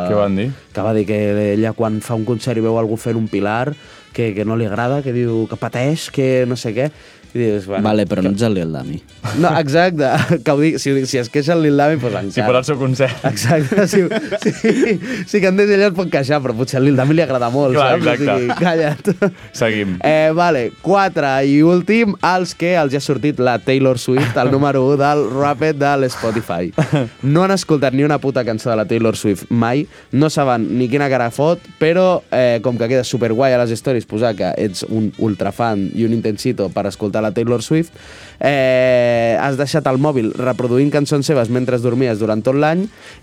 Què van dir?
Que va dir que ella quan fa un concert i veu algú fent un pilar, que, que no li agrada, que diu que pateix, que no sé què. I dius, bueno,
Vale, però no ets el Lil Dami.
No, exacte. Que ho dic, si, si es queixa el Lil Dami, doncs encara.
Si fos el seu concert.
Exacte, sí, sí, sí que antes ella es pot queixar, però potser al Lil Dami li agrada molt,
Clar,
saps?
exacte.
O sigui, calla't.
Seguim.
Eh, vale, 4 i últim, els que els ja ha sortit la Taylor Swift, el número 1 del Rapid de l'Spotify. No han escoltat ni una puta cançó de la Taylor Swift mai, no saben ni quina cara fot, però eh, com que queda superguai a les stories posar que ets un ultrafan i un intensito per escoltar la Taylor Swift, eh, has deixat el mòbil reproduint cançons seves mentre dormies durant tot l'any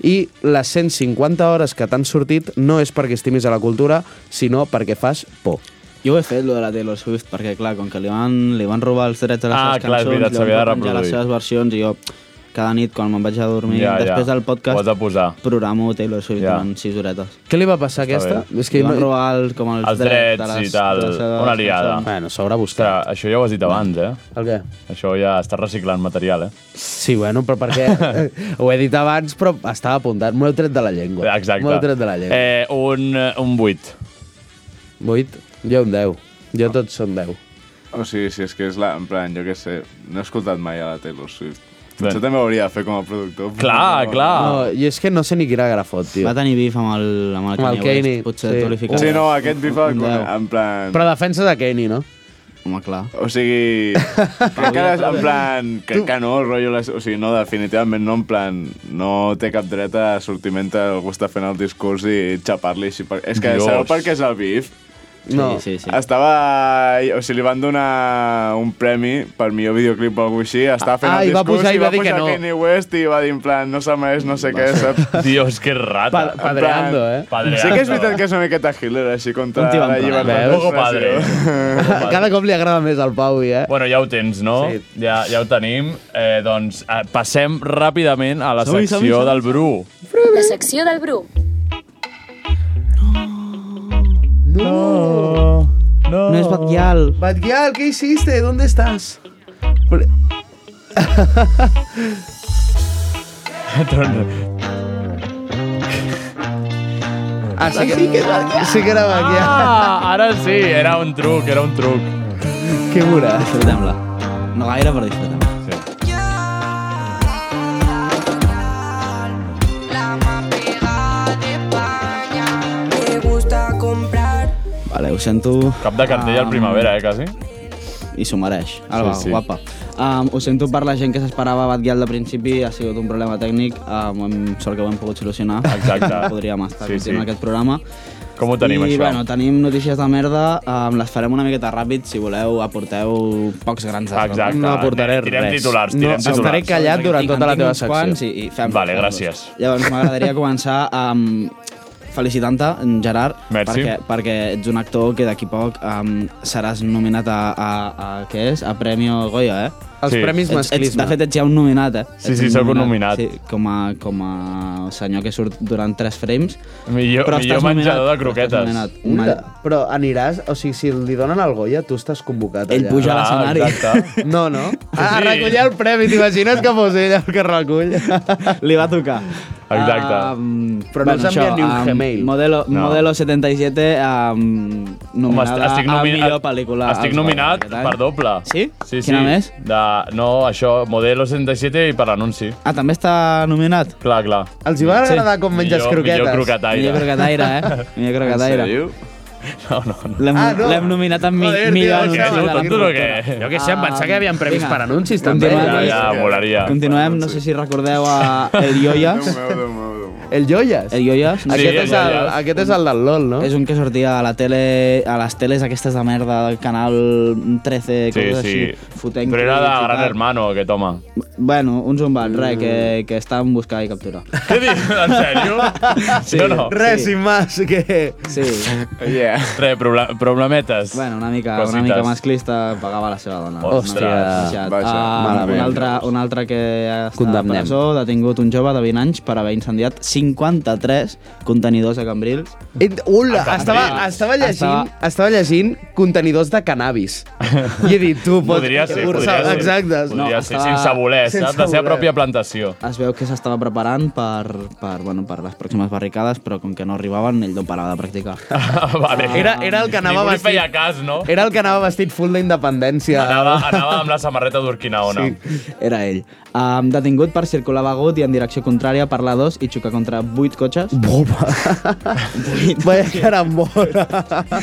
i les 150 hores que t'han sortit no és perquè estimis a la cultura, sinó perquè fas por.
Jo ho he fet, lo de la Taylor Swift, perquè, clar, com que li van, li van robar els drets a les
Ah,
seves
clar, és
cançons,
veritat,
llavors
s'havia de
va penjar les
reproduir.
seves versions i jo cada nit, quan me'n vaig a dormir,
Ja, ja.
després del podcast,
Ho has de posar.
programo Taylor Swift
Ja.
durant 6 horetes.
Què li va passar a aquesta?
És que li van robar el, com els,
Els
drets,
drets
de les,
i tal.
de les seves
Una liada.
cançons.
Bueno, s'haurà buscat.
Ostres, això ja ho has dit abans, eh?
El què?
Això ja està reciclant material, eh?
Sí, bueno, però perquè eh, ho he dit abans, però estava apuntat. M'ho heu tret de la llengua.
Exacte.
M'ho heu tret de la llengua.
Eh, un, eh, un 8.
Eh. 8? Jo un 10. Jo tots són 10.
O sigui, si és que és la... En plan, jo què sé, no he escoltat mai a la Taylor Swift. Potser
Ben.
també ho hauria de fer com a productor. però no.
Ah.
No, i és que no sé ni quina cara fot, tio.
Va tenir bif amb el, amb el,
Amb el
Kanye
Kanye,
West, potser
sí.
tu li fiques...
Sí, no, aquest bif
un deu.
en plan...
Però defensa de Kenny, no?
Home, clar.
O sigui, crec que en plan, crec que no, el rotllo, les- o sigui, no, definitivament no, en plan, no té cap dret a sortir mentre algú està fent el discurs i xapar-li així. Per... És que
Dios.
sabeu per què és el bif?
No.
Sí, sí, sí.
Estava... O sigui, li van donar un premi per millor videoclip o alguna així, estava fent
Ah, i
el
va
discurs
pujar i va dir que
pujar
no.
Kanye West i va dir, en plan, no se mereix, no sé què, saps?
Dios, que rata.
En plan,
eh?
Sí que és veritat que és una miqueta Hitler, així, contra
Un tio
la
en plan,
llibertat
veus? Poco padre.
Cada cop li agrada més al Paui, eh?
Bueno, ja ho tens, no? Sí. Ja, ja ho tenim. Eh, doncs eh, passem ràpidament a la
Som-hi,
secció
som-hi, som-hi.
del Bru.
La secció del Bru.
No.
No es Batguial.
Batguial, ¿qué hiciste? ¿Dónde estás?
Doncs,
Ah, sí que, sí que era Batguial.
Ah, ara sí, era un truc, era un truc.
Que mura.
Disfrutem-la. No gaire, però disfrutem-la.
Me gusta comprar.
Vale, ho sento.
Cap de cartell al primavera, eh, quasi.
I s'ho mereix. Alba,
Sí, sí.
sí, sí. guapa. Um, ho sento per la gent que s'esperava Batguial de principi, ha sigut un problema tècnic, um, hem, sort que ho hem pogut solucionar.
Exacte.
Podríem estar
Sí, sí.
sí, continuant sí. aquest programa.
Com ho tenim,
I,
això?
bueno, tenim notícies de merda, um, les farem una miqueta ràpid, si voleu, aporteu pocs grans errors.
Exacte. No aportaré Tirem res. titulars, tirem titulars. Estaré callat
En
durant
tinc-
tota
en
la
tinc
teva
uns
secció.
Quants i, i fem
Vale,
fem dos.
gràcies.
Llavors, m'agradaria començar amb felicitant-te, en Gerard,
Merci.
perquè, perquè ets un actor que d'aquí poc um, seràs nominat a, a, a, què és? A Premio Goya, eh?
Els Sí. Premis
Ets- Ets,
Masclisme.
de fet, ets ja un nominat, eh?
Sí,
Ets
sí,
un
sóc un nominat.
Sí, com, a, com a senyor que surt durant tres frames.
Millor,
però
millor
estàs
menjador
nominat,
de croquetes.
però estàs
Una,
nominat.
però aniràs... O sigui, si li donen el Goya, tu estàs convocat
Ell
allà.
puja a
Ah,
l'escenari.
No, no. Ah,
Sí.
a recollir el premi, t'imagines que fos ell el que recull?
Li va tocar.
Exacte.
Um,
Però no us
això,
envien ni un
um,
Gmail.
Modelo,
No.
modelo 77 um,
est-
nominada estic
nomi-
a millor pel·lícula.
Estic
als
nominat
Oscars aquest any.
per doble. Sí? Sí,
Quina
sí.
més?
De, no, això, Modelo 67 i per l'anunci.
Ah, també està nominat?
Clar, clar.
Els hi va agradar com menges
millor,
croquetes?
Millor croquetaire.
Millor croquetaire, eh? Millor croquetaire.
No, no, no.
L'hem ah, no. l'hem nominat amb mi,
Joder,
millor
tio,
anunci.
que
de la
no, tanto
no
cultura.
que-
Jo què sé, em pensava que hi havia premis
vinga.
per
Ah,
Ah,
anuncis, també.
Ja,
Continuem.
ja, volaria.
Continuem, no sé si recordeu a El Yoyas.
El Joyas.
El Yoyas.
Sí, Aquest el és el- Yoyas. aquest és el del LOL, no?
És un que sortia a la tele, a les teles aquestes de merda, del canal 13,
Sí,
coses
sí.
així. Fotent
Però era de
culs i
Gran
tal.
Hermano, aquest home.
Bueno, un zombat, res, que, que està en buscar i capturar.
En sèrio?
Sí.
No, no.
Res
i més que...
Sí.
Yeah. Re, proble- problemetes.
Bueno, una mica, una
Cosites.
mica masclista, pagava la seva dona.
Ostres. Vaja,
Vaja,
malament.
un, altre, un altre que està a
Condemnem.
presó, detingut un jove de 20 anys per haver incendiat 53 contenidors a Cambrils.
Ula,
A
estava,
Cambrils.
estava, llegint,
Estava-
estava llegint contenidors de cannabis. I he dit, tu, pots...
Podria ser, podria
Saps?
ser.
Exacte.
Podria ser, sense voler, saps? La seva pròpia plantació.
Es veu que s'estava preparant per, per, bueno, per les pròximes barricades, però com que no arribaven, ell no parava de practicar.
vale.
Era, era el que anava
Ningú li
vestit...
feia cas, no?
Era el que anava vestit full d'independència.
Anava, anava amb la samarreta d'Urquinaona. Sí.
Era ell. Um, detingut per circular begut i en direcció contrària per la 2 i xocar contra 8 cotxes.
Boba! Vaya carambola.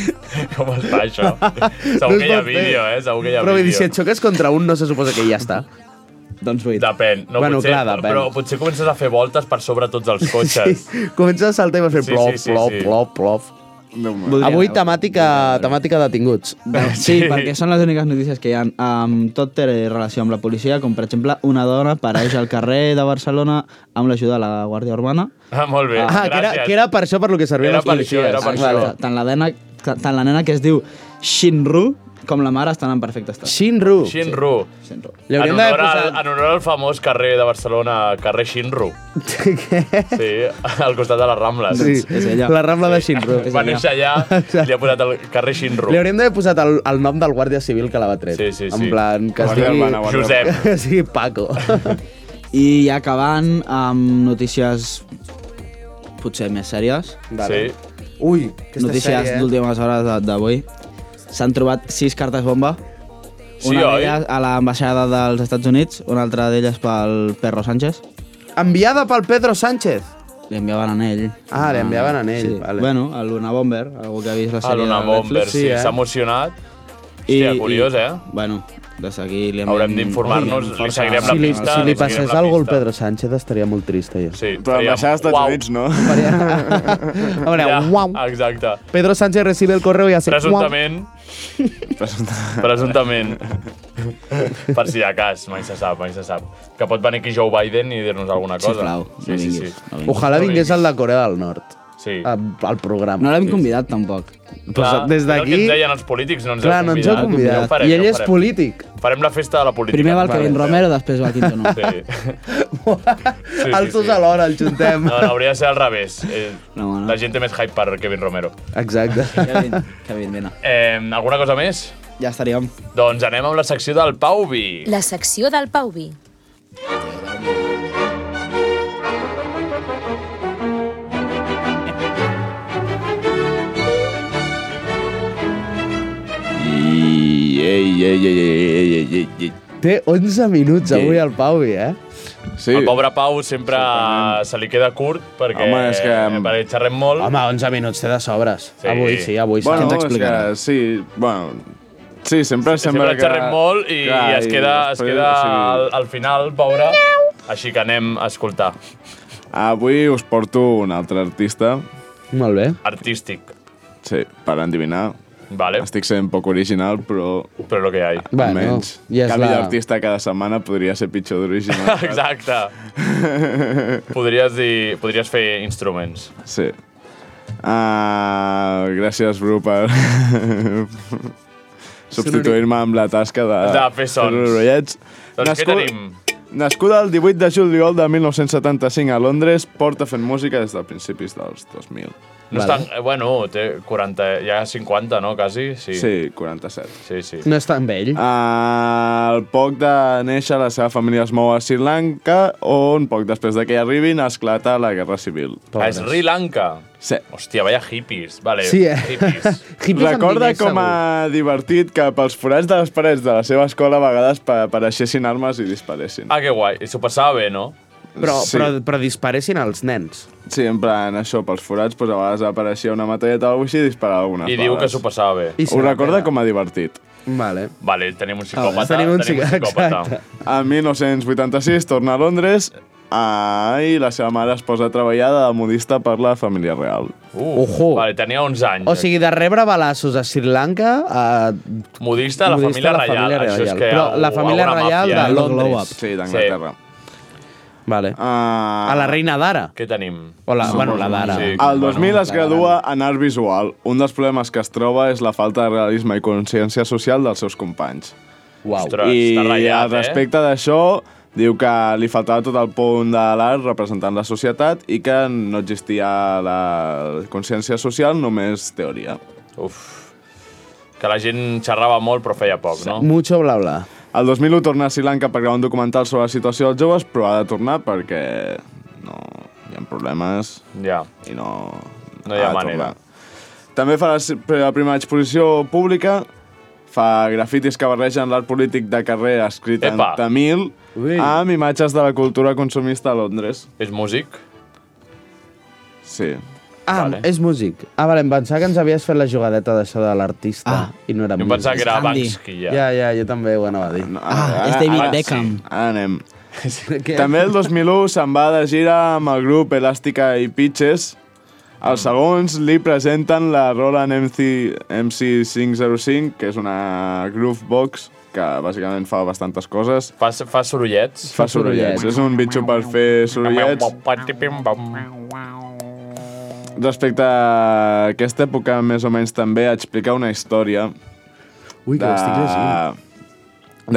Com es fa això? Segur
No es
que hi ha
pot fer.
vídeo, eh? Segur que hi ha
Però vull dir,
vídeo.
si et xoques contra un, no se suposa que ja està.
Doncs vull.
Depèn. No,
Bueno,
potser,
clar, depèn.
Però potser comences a fer voltes per sobre tots els cotxes. Sí.
Comença a saltar i vas fer
Sí,
plof,
sí, sí,
plof,
sí.
plof, plof.
Voldria
Avui
anar-
temàtica, temàtica detinguts.
Sí, perquè són les úniques notícies que hi ha. Um, tot té relació amb la policia, com per exemple una dona pareix al carrer de Barcelona amb l'ajuda de la Guàrdia Urbana.
Ah, molt bé.
Ah, que era, que era per això per lo que servien
Era
els
per això,
policies.
era per
Vale.
això.
Tant la, nena, tant la nena que es diu Shinru com la mare estan en perfecte estat.
Shinru?
Shinru.
Shinru.
En honor, al, en honor al famós carrer de Barcelona, carrer Shinru. Què? Sí, al costat de les Rambles.
Sí, la Rambla de Shinru.
Va néixer allà i li ha posat el carrer Shinru.
Li hauríem d'haver posat el, el nom del guàrdia civil que la va tret.
Sí, sí,
En
sí.
plan, que es
Guàrdia
digui...
urbana, guàrdia Josep. urbana.
Que es digui Paco.
I ja acabant amb notícies potser més sèries.
Vale. Sí. Ui, aquesta
Notícies
sèrie, eh?
d'últimes hores de- d'avui. S'han trobat sis cartes bomba.
Sí,
una
oi?
d'elles a l'ambaixada dels Estats Units, una altra d'elles pel Perro Sánchez.
Enviada pel Pedro Sánchez.
Li enviaven a ell.
Ah, li enviaven a ell,
sí.
vale.
Bueno, a Luna Bomber, algú que ha vist la
A
sèrie
l'Una
de Netflix.
Bomber, sí,
eh?
s'ha emocionat. Hòstia, curiós, eh?
Bueno, des d'aquí li
Haurem d'informar-nos, li seguirem la
si li,
pista.
si li
seguirem
passés
la
alguna cosa al Pedro Sánchez estaria molt trista, jo.
Sí,
Però l'ambaixada dels Estats Units, no?
A veure, uau.
Exacte.
Pedro Sánchez recibe el correu i hace...
Presumptament. Presumptament. per si de cas, mai se sap, mai se sap. Que pot venir aquí Joe Biden i dir-nos alguna cosa.
Sisplau,
sí,
no
sí, sí.
vinguis, no
Uau. Ojalà vingués el de Corea del Nord.
Sí.
A, al programa.
No l'hem convidat, tampoc.
Pues, doncs
És
des
el que
d'aquí...
ens deien els polítics, no ens
Clar,
heu
no
convidat.
ens heu convidat.
ho farem,
I ell
ho
és
farem.
polític.
Farem la festa de la política.
Primer va el Kevin Romero, després va el Quinto No.
Sí. sí,
Els dos
sí.
alhora el juntem.
No, no, hauria de ser al revés. Eh,
no,
La gent té més hype per Kevin Romero.
Exacte.
Kevin, Kevin, vine.
Eh, alguna cosa més?
Ja estaríem.
Doncs anem amb la secció del Pauvi.
La secció del Pauvi.
I... Ei, ei, ei, ei, ei, ei, ei, ei.
Té 11 minuts avui el Pauvi, eh?
Sí.
El pobre Pau sempre se li queda curt perquè, eh,
Home, és
mm,
que-
perquè xerrem molt.
Home, 11 minuts té de sobres.
Sí.
Avui sí, avui sí. Què
Bueno,
ens
és
explicarà?
que sí, bueno... Sí, sempre sembla
Sempre
que...
xerrem molt i,
Clar,
i es queda, es
després,
queda
o sigui,
al, al final, pobre. Així que anem a escoltar.
Avui us porto un altre artista.
Molt bé.
Artístic.
Sí, per endivinar.
Vale.
Estic sent poc original, però...
Però lo que hi ha.
Bueno,
Almenys.
ja és
Canvi
la-
d'artista cada setmana podria ser pitjor d'original.
Exacte. Podries, dir, podries fer instruments.
Sí. Ah, gràcies, Bru, per substituir-me amb la tasca de,
De fer sons.
fer sorollets.
Doncs què
Nascut-
tenim?
Nascuda el 18 de juliol de 1975 a Londres, porta fent música des de principis dels 2000.
No és tan, eh, bueno, té 40, ja 50, no, quasi? Sí,
Sí, 47.
sí. sí.
No és tan vell.
Al poc de néixer, la seva família es mou a Sri Lanka, on poc després de que hi arribin esclata la Guerra Civil.
A Sri Lanka.
Sí.
Hòstia, vaya hippies. Vale,
Sí, eh?
hippies.
Recorda com a divertit que pels forats de les parets de la seva escola a vegades pa- apareixessin armes i disparessin.
Ah, que guai. I s'ho passava bé, no?
Però- Sí. però-
però disparessin als nens.
Sí, en plan, això, pels forats, doncs, a vegades apareixia una metalleta o alguna cosa així i disparava algunes
I diu que s'ho passava bé. I
I
se
ho
la
eh?
recorda com a divertit.
Vale.
Vale, tenim un psicòpata.
Tenim un psicòpata.
psicòpata.
En 1986 torna a Londres Ai, la seva mare es posa a treballar de modista per la família real.
Uh,
Ojo.
Vale, tenia 11 anys.
O sigui, de rebre balassos a Sri Lanka... A...
Modista a la família reial, això és que
Però
algú-
la família
alguna
reial
màfia,
de
eh?
Londres.
Sí, d'Anglaterra.
Vale.
Uh...
A la reina d'ara.
Què tenim?
O la, bueno, la d'ara.
Ah, El 2000 es gradua en art visual. Un dels problemes que es troba és la falta de realisme i consciència social dels seus companys.
Uau.
Ostres,
I
està ratllat, eh?
al respecte d'això, diu que li faltava tot el punt de l'art representant la societat i que no existia la consciència social, només teoria.
Uf. Que la gent xerrava molt però feia poc, no?
Mucho bla bla.
El 2001 torna a Sri Lanka per gravar un documental sobre la situació dels joves, però ha de tornar perquè no hi ha problemes
ja.
i no...
No hi ha
de
manera.
tornar. També fa la, s- la primera exposició pública, fa grafitis que barregen l'art polític de carrer escrit
Epa.
en tamil amb imatges de la cultura consumista a Londres.
És músic?
Sí.
Ah, vale. és músic. Ah, vale, em pensava que ens havies fet la jugadeta d'això de l'artista ah. i no era
Jo em
músic.
pensava que era Andy. Basquiat.
Ja, ja, jo també ho anava a dir.
Ah, és David ara sí. Beckham. Ara anem. També el 2001 se'n va de gira amb el grup Elàstica i Pitches. Els
Mm.
segons li presenten la Roland MC, MC505, que és una groovebox que bàsicament fa bastantes coses.
Fa, fa sorollets?
Fa sorollets. És un bitxo per fer sorollets. Respecte a aquesta època, més o menys també, explica una història
Ui, que l'estic llegint.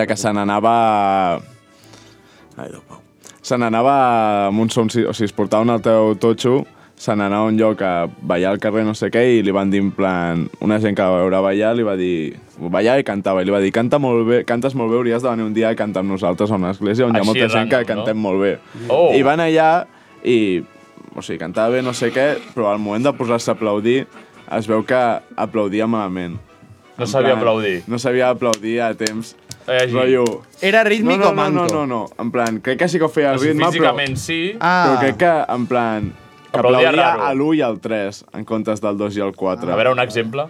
de que se n'anava... Ai, Déu, Pau. Se n'anava amb un som... O sigui, es portava un alteu totxo, se n'anava a un lloc a ballar al carrer no sé què i li van dir en plan... Una gent que va veure ballar li va dir... Ballar i cantava. I li va dir, canta molt bé, cantes molt bé, hauries de venir un dia a cantar amb nosaltres a una església on hi ha
Així,
molta gent que
random, no?
cantem molt bé.
Oh.
I van allà i... O sigui, cantava bé, no sé què, però al moment de posar-se a aplaudir es veu que aplaudia malament.
No
En
sabia
plan,
aplaudir.
No sabia aplaudir a temps.
Eh, així.
Rotllo,
Era
no,
rítmic
no,
o manco?
No, no, no, no. En plan, crec que sí que ho feia
O
el
sigui,
ritme,
físicament
però...
sí.
Però
Ah.
crec que, en plan, que
Aplaudia
aplaudia
raro.
a l'1 i al 3, en comptes del 2 i el 4.
A veure, un exemple.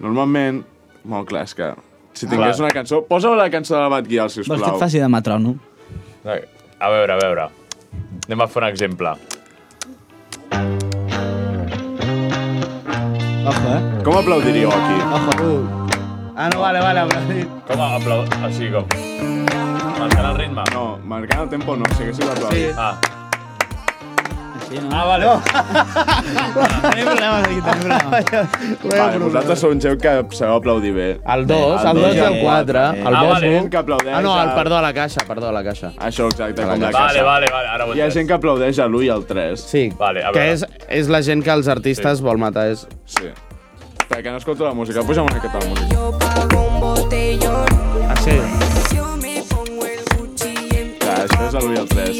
Normalment... Molt clar, és que... Si
Ah.
tingués
Clar.
una cançó... Posa la cançó de la Batguial,
Vols que
sisplau.
et faci de metrònom?
A veure, a veure. Anem a fer un exemple.
Ojo, eh?
Com aplaudiríeu aquí?
Ojo.
Ah, no, vale, vale, aplaudir.
Com a aplaud... Així, com... Marcant el ritme.
No, marcant el tempo no, seguéssiu l'aplaudir.
Ah.
Ah,
vale.
Tenim problemes aquí, tenim problemes.
Vale, vosaltres sou un geu que sabeu aplaudir bé.
El 2, el 2 i
eh,
el 4. El
ah,
Bosco.
vale. Gent que aplaudeix
Ah, no, el,
al-
perdó, a la caixa, perdó, a la caixa.
Això, exacte,
A la
com la
caixa.
casa.
Vale, vale,
vale, ara ho
Hi ha gent que aplaudeix a l'1 i al 3.
Sí,
vale,
que és, és la gent que els artistes sí. vol matar. És...
Sí. Espera, que no escolto la música. Puja'm una miqueta la música.
Ah, sí.
Ja, això és l'1 i el 3.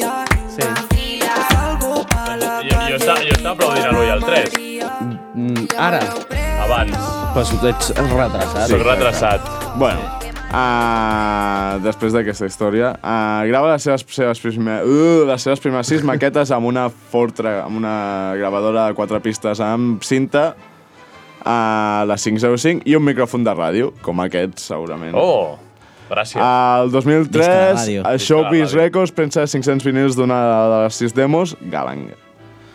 Sí.
Jo, jo, estava, jo estava aplaudint a l'1 i al 3.
Mm, ara.
Abans.
Però si tu ets retrasat.
Soc retrasat.
Bueno, uh, després d'aquesta història, uh, grava les seves, seves primer, uh, les seves primeres sis maquetes amb una fortra, amb una gravadora de quatre pistes amb cinta, a uh, la 505 i un micròfon de ràdio, com aquest, segurament.
Oh, gràcies.
Ah.
Al 2003,
Visca la ràdio. Visca
a
la
Showbiz
ràdio.
Records pensa 500 vinils d'una de les sis demos, Galang.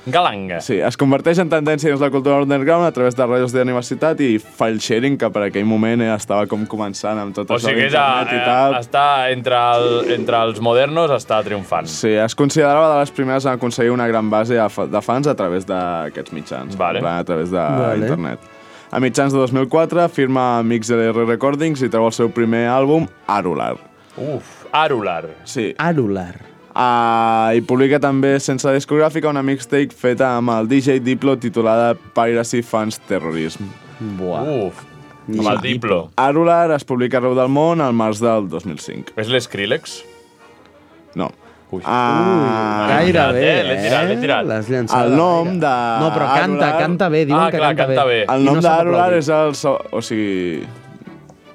Galanga.
Sí, es converteix en tendència dins la cultura underground a través de ràdios de universitat i file sharing, que per aquell moment eh, estava com començant amb tot
O
això
sigui que és a,
d'internet i
eh,
tal.
està entre, el, entre els modernos, està triomfant.
Sí, es considerava de les primeres a aconseguir una gran base a fa- de fans a través d'aquests mitjans,
Vale.
en plan, a través
Vale.
d'internet. A mitjans de 2004 firma amb XLR Recordings i treu el seu primer àlbum, Arular.
Uf, Arular.
Sí.
Arular.
Uh, I publica també, sense discogràfica, una mixtape feta amb el DJ Diplo titulada Piracy Fans Terrorism.
Buah.
Uf, amb el Diplo.
Arular es publica arreu del món al març del 2005.
És l'Skrillex?
No.
Ui.
Ah,
Ui, gairebé,
eh? L'he tirat, l'he tirat.
L'has llançat.
El nom de...
No, però canta,
Arular- Ah,
canta bé,
Ah,
diuen que canta, bé.
El
I
nom
no sap
d'Arular
aplaudir.
és el... seu- O sigui...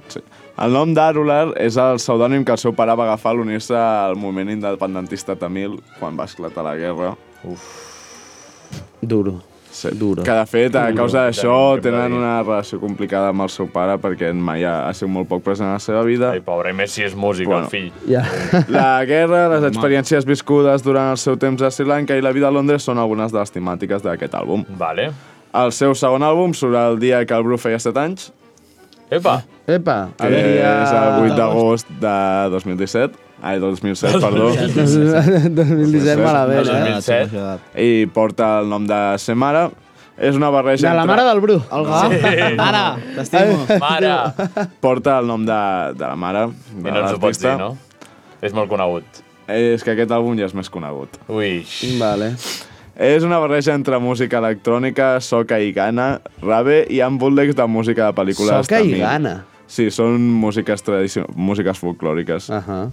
Sí. El nom d'Arular és el pseudònim que el seu pare va agafar a l'unir-se al moviment independentista tamil quan va esclatar la guerra.
Uf.
Duro.
Sí. Dura. Que de fet, a causa d'això, tenen una relació complicada amb el seu pare perquè en Maia ha sigut molt poc present a la seva
Ah.
vida. Ai,
pobre, i més si és músic, el fill.
Ja.
La guerra, les experiències viscudes durant el seu temps a Sri Lanka i la vida a Londres són algunes de les temàtiques d'aquest àlbum.
Vale.
El seu segon àlbum surt el dia que el Bru feia 7 anys.
Epa!
Epa!
Que és el 8 d'agost de 2017. Ai, 2007, perdó. Doncs
2017 malament, eh?
I porta el nom de Semara. És una barreja
De la
entre...
mare del Bru.
El gat. Sí. Mare, t'estimo.
Mare.
Porta el nom de, de la mare.
I no ens ho pots dir, no? És molt conegut.
És que aquest àlbum ja és més conegut.
Ui.
Vale.
És una barreja entre música electrònica, soca i gana, rave i amb bootlegs de música de pel·lícules.
Soca i
tamil.
gana?
Sí, són músiques, tradici- músiques folclòriques. Uh
-huh.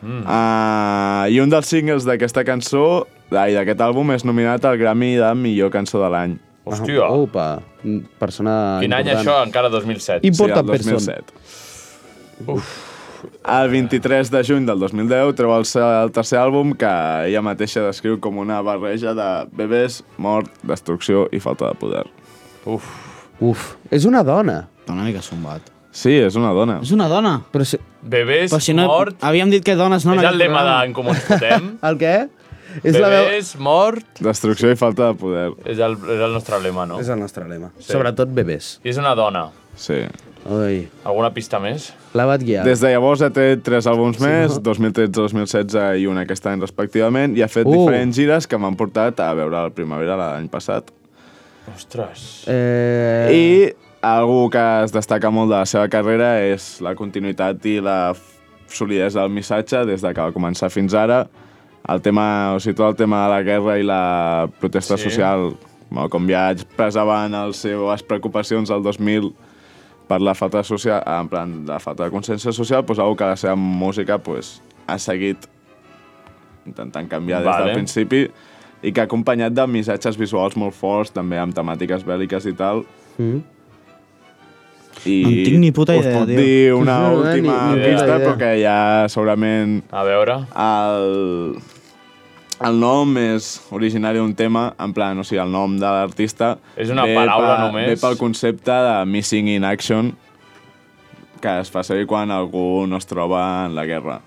mm. uh, I un dels singles d'aquesta cançó, ai, d'aquest àlbum, és nominat al Grammy de Millor Cançó de l'any.
Hòstia.
Oh,
Ah,
opa, persona
Quin any això? Encara 2007.
sí, el 2007. El 23 de juny del 2010 treu el, se- el tercer àlbum que ella mateixa descriu com una barreja de bebès, mort, destrucció i falta de poder. Uf.
Uf. És una dona.
Està una mica sombat.
Sí, és una dona.
És una dona.
Però si...
Bebès,
Però si no,
mort...
Havíem dit que dones, no? en
és el
aquest
lema
programa.
d'en Comú Ens Fotem.
El què?
És bebès, mort...
Destrucció i falta de poder.
És el, és el nostre lema, no?
És el nostre lema. Sobretot bebès.
I és una dona.
Sí.
Ui.
Alguna pista més?
La bat guiar.
Des de llavors ha tret tres àlbums sí, més, no? 2013, 2016 i un aquest any respectivament, i ha fet
Uh.
uh. diferents gires que m'han portat a veure la primavera l'any passat.
Ostres.
Eh...
I algú que es destaca molt de la seva carrera és la continuïtat i la f- solidesa del missatge des de que va començar fins ara. El tema, o sigui, tot el tema de la guerra i la protesta
Sí.
sí. social, bueno, com ja expressaven les seves preocupacions al 2000 per la falta de social, en plan, la falta de consciència social, doncs algú que la seva música doncs, ha seguit intentant canviar des
Vale.
del principi i que ha acompanyat de missatges visuals molt forts, també amb temàtiques bèl·liques i tal,
Mm.
i
No en tinc ni puta
us
idea,
puc
tio.
dir una
No, eh,
última
ni- ni puta
pista,
idea.
però que ja segurament...
A veure...
El, el nom és originari d'un tema, en plan, o sigui, el nom de l'artista...
És una paraula només?
Ve pel concepte de missing in action, que es fa servir quan algú no es troba en la guerra.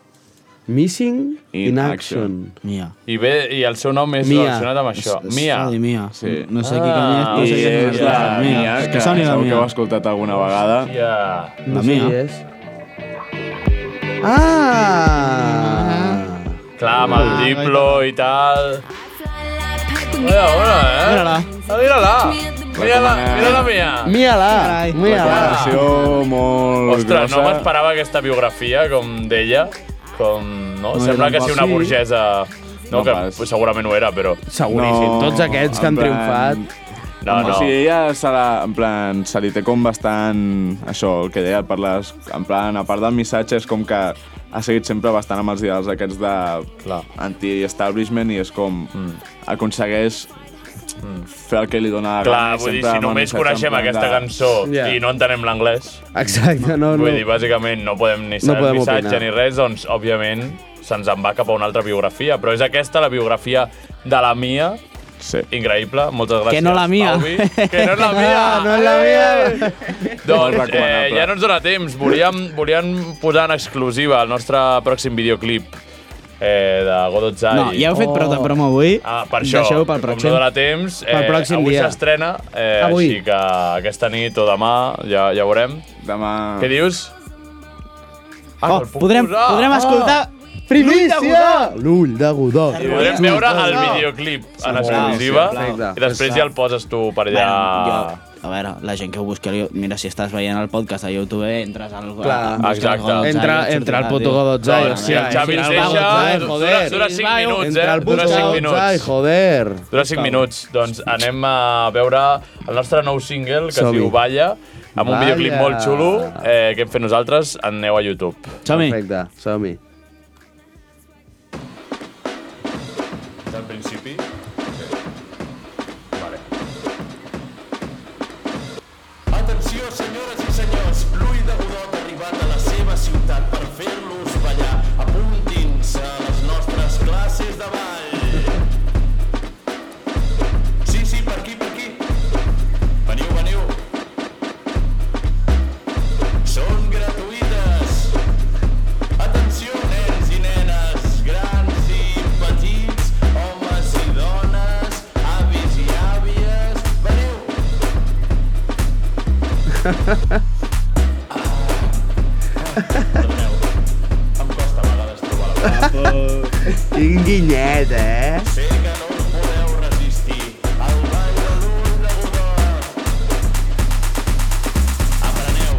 Missing in,
In
action.
Mia.
I, bé, I el seu nom és
Mia.
relacionat amb això.
És- és
Mia. Ah,
Sony Mia.
Sí.
No sé qui que és, però sé que és
I és
una
la
artista.
Mia, que
Sony la
segur que
Mia.
heu escoltat alguna vegada.
Yeah.
La Mia.
és. Ah!
Clar, amb
Ah,
el Diplo i tal... Mira, hola, eh? Mira-la. Mira-la. Mira-la, mira-la mia.
Mia-la.
Recomanació molt
Ostres, no
grossa.
m'esperava aquesta biografia com d'ella. Com, no?
No
Sembla
era
que
un
sigui una
sí.
burgesa... No,
No
que
pas.
segurament ho era, però...
Seguríssim. No, Tots aquests que han
en plan-
triomfat.
No,
Home,
no.
O sigui, ella se la, en plan, se li té com bastant... Això, el que deia, per les, en plan, a part del missatge, és com que ha seguit sempre bastant amb els ideals aquests de anti-establishment i és com
Mm.
aconsegueix fer el que li dona la
Clar,
gana. i
vull dir,
sempre
si
amb un
només
missatge en
coneixem
plan
aquesta
de-
cançó
Ja.
i no entenem l'anglès,
Exacte, no, no.
vull dir, bàsicament no podem ni
No
saber el
podem
missatge
opinar.
ni res, doncs, òbviament, se'ns en va cap a una altra biografia. Però és aquesta, la biografia de la Mia.
Sí.
Increïble, moltes gràcies.
Que no la Mia.
Pauvi. Que no és la Mia.
Ah, no és la
Mia.
Doncs
Molt
eh,
recomanable.
ja no ens dona temps. Volíem, volíem posar en exclusiva el nostre pròxim videoclip eh, de Godotzai.
No, ja heu fet prou
Oh.
de promo avui.
Ah, per això,
Deixeu-ho pel
com
pròxim.
no dona temps, eh,
Pel pròxim
avui
dia.
s'estrena, eh,
Avui.
així que aquesta nit o demà ja, ja veurem.
Demà...
Què dius? Ah,
Ah. Oh, podrem,
posar.
podrem
Ah.
escoltar...
Primícia! L'ull de Godó.
I podrem veure el videoclip en
sisplau,
exclusiva
sisplau.
i després ja el poses tu per allà.
Bueno, jo, a veure, la gent que ho busqui, al- mira, si estàs veient el podcast a YouTube, entres al...
Clar,
busques
exacte.
Godotzai,
Entra-
et
entra al
sortirà,
puto
tio.
Godotzai,
Dona,
hòstia,
eh?
i si el Godotzai,
Deixa, dura,
joder.
dura 5 minuts,
Entra
eh?
al
Dura 5
Ai,
minuts.
joder.
Dura 5 minuts. Doncs anem a veure el nostre nou single, que es
Som-hi.
diu Balla, amb un
Balla.
videoclip molt xulo eh, que hem fet nosaltres. Aneu a YouTube.
Som-hi.
Perfecte, som-hi.
Al principi... Vale.
Atenció, senyores i senyors, Louis de Godot ha arribat a la seva ciutat per fer-los ballar. Apuntin-se a les nostres classes de ball. Sí, sí, per aquí, per aquí. Em costa a vegades trobar la
Quin guinyet, eh?
Sé que no us podeu resistir al ball de l'ull de Godot. Apreneu.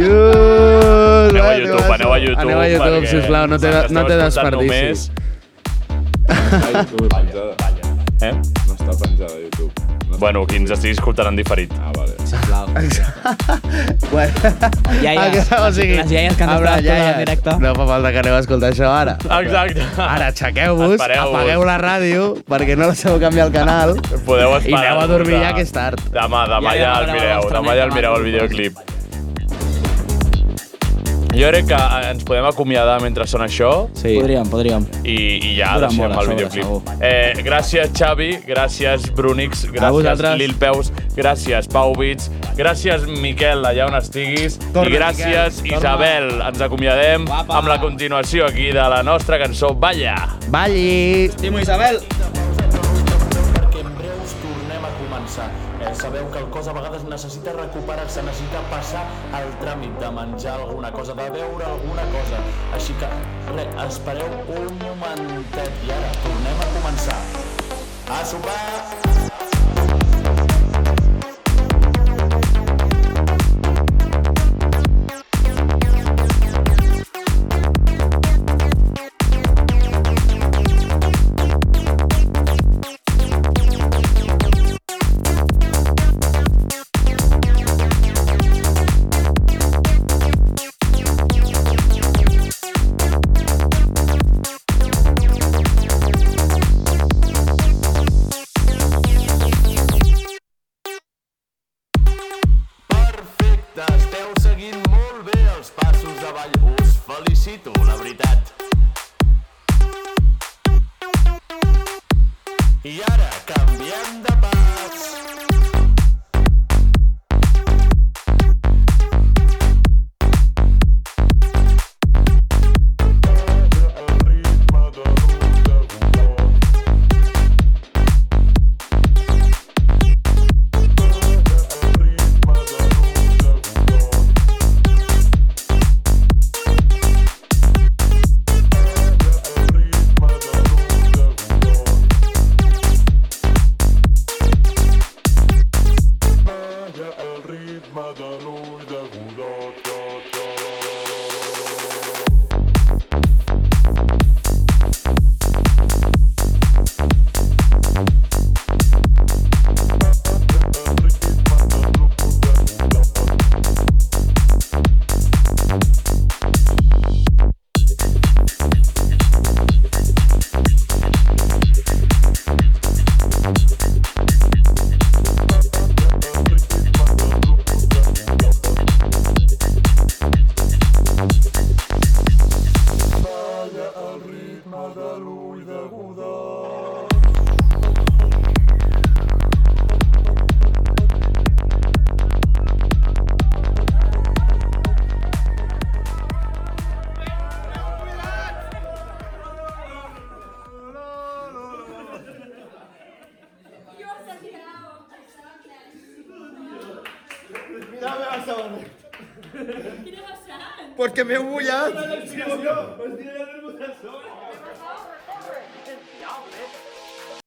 Dios,
Aneu a YouTube, aneu a YouTube.
Aneu a YouTube,
perquè
sisplau, no te,
ens esteu
no te
escoltant
desperdicis.
Està a YouTube penjada.
Eh?
No està penjada a YouTube.
Bueno, qui ens estigui escoltant en diferit. Ah, vale.
Bueno,
Iaies.
o sigui,
Les iaies que han tota
a veure,
estat escoltant
iaies,
en directe.
No fa falta que aneu a escoltar això ara.
Exacte.
Ara, aixequeu-vos,
Espereu-vos.
apagueu la ràdio, perquè no la sabeu canviar el canal.
Podeu esperar.
I aneu a dormir ja, que és tard.
Demà, demà
Ja,
ja,
ja
el
veureu
mireu,
l'estreneta,
demà ja el mireu el videoclip. Jo crec que eh, ens podem acomiadar mentre sona això.
Sí. Podríem, podríem.
I, i ja
Dura
deixem
molt, a
el
sobre,
videoclip. Eh, gràcies, Xavi, gràcies, Brunix, gràcies,
vosaltres.
Lil Peus, gràcies, Pau Bits, gràcies, Miquel, allà on estiguis,
Torna,
i gràcies,
Miquel, torna.
Isabel. Ens acomiadem amb la continuació aquí de la nostra cançó Balla.
Balli!
Estimo Isabel!
perquè en breu us tornem a començar. Eh, sabeu que el cos a vegades necessita recuperar-se, necessita passar el tràmit de menjar alguna cosa, de beure alguna cosa. Així que, re, espereu un momentet i ara tornem a començar. A sopar! Perfecte, esteu seguint molt bé els passos de ball. Us felicito, la veritat. I ara canviem de pas.
Mira'm a Barcelona. Porque me he bullado.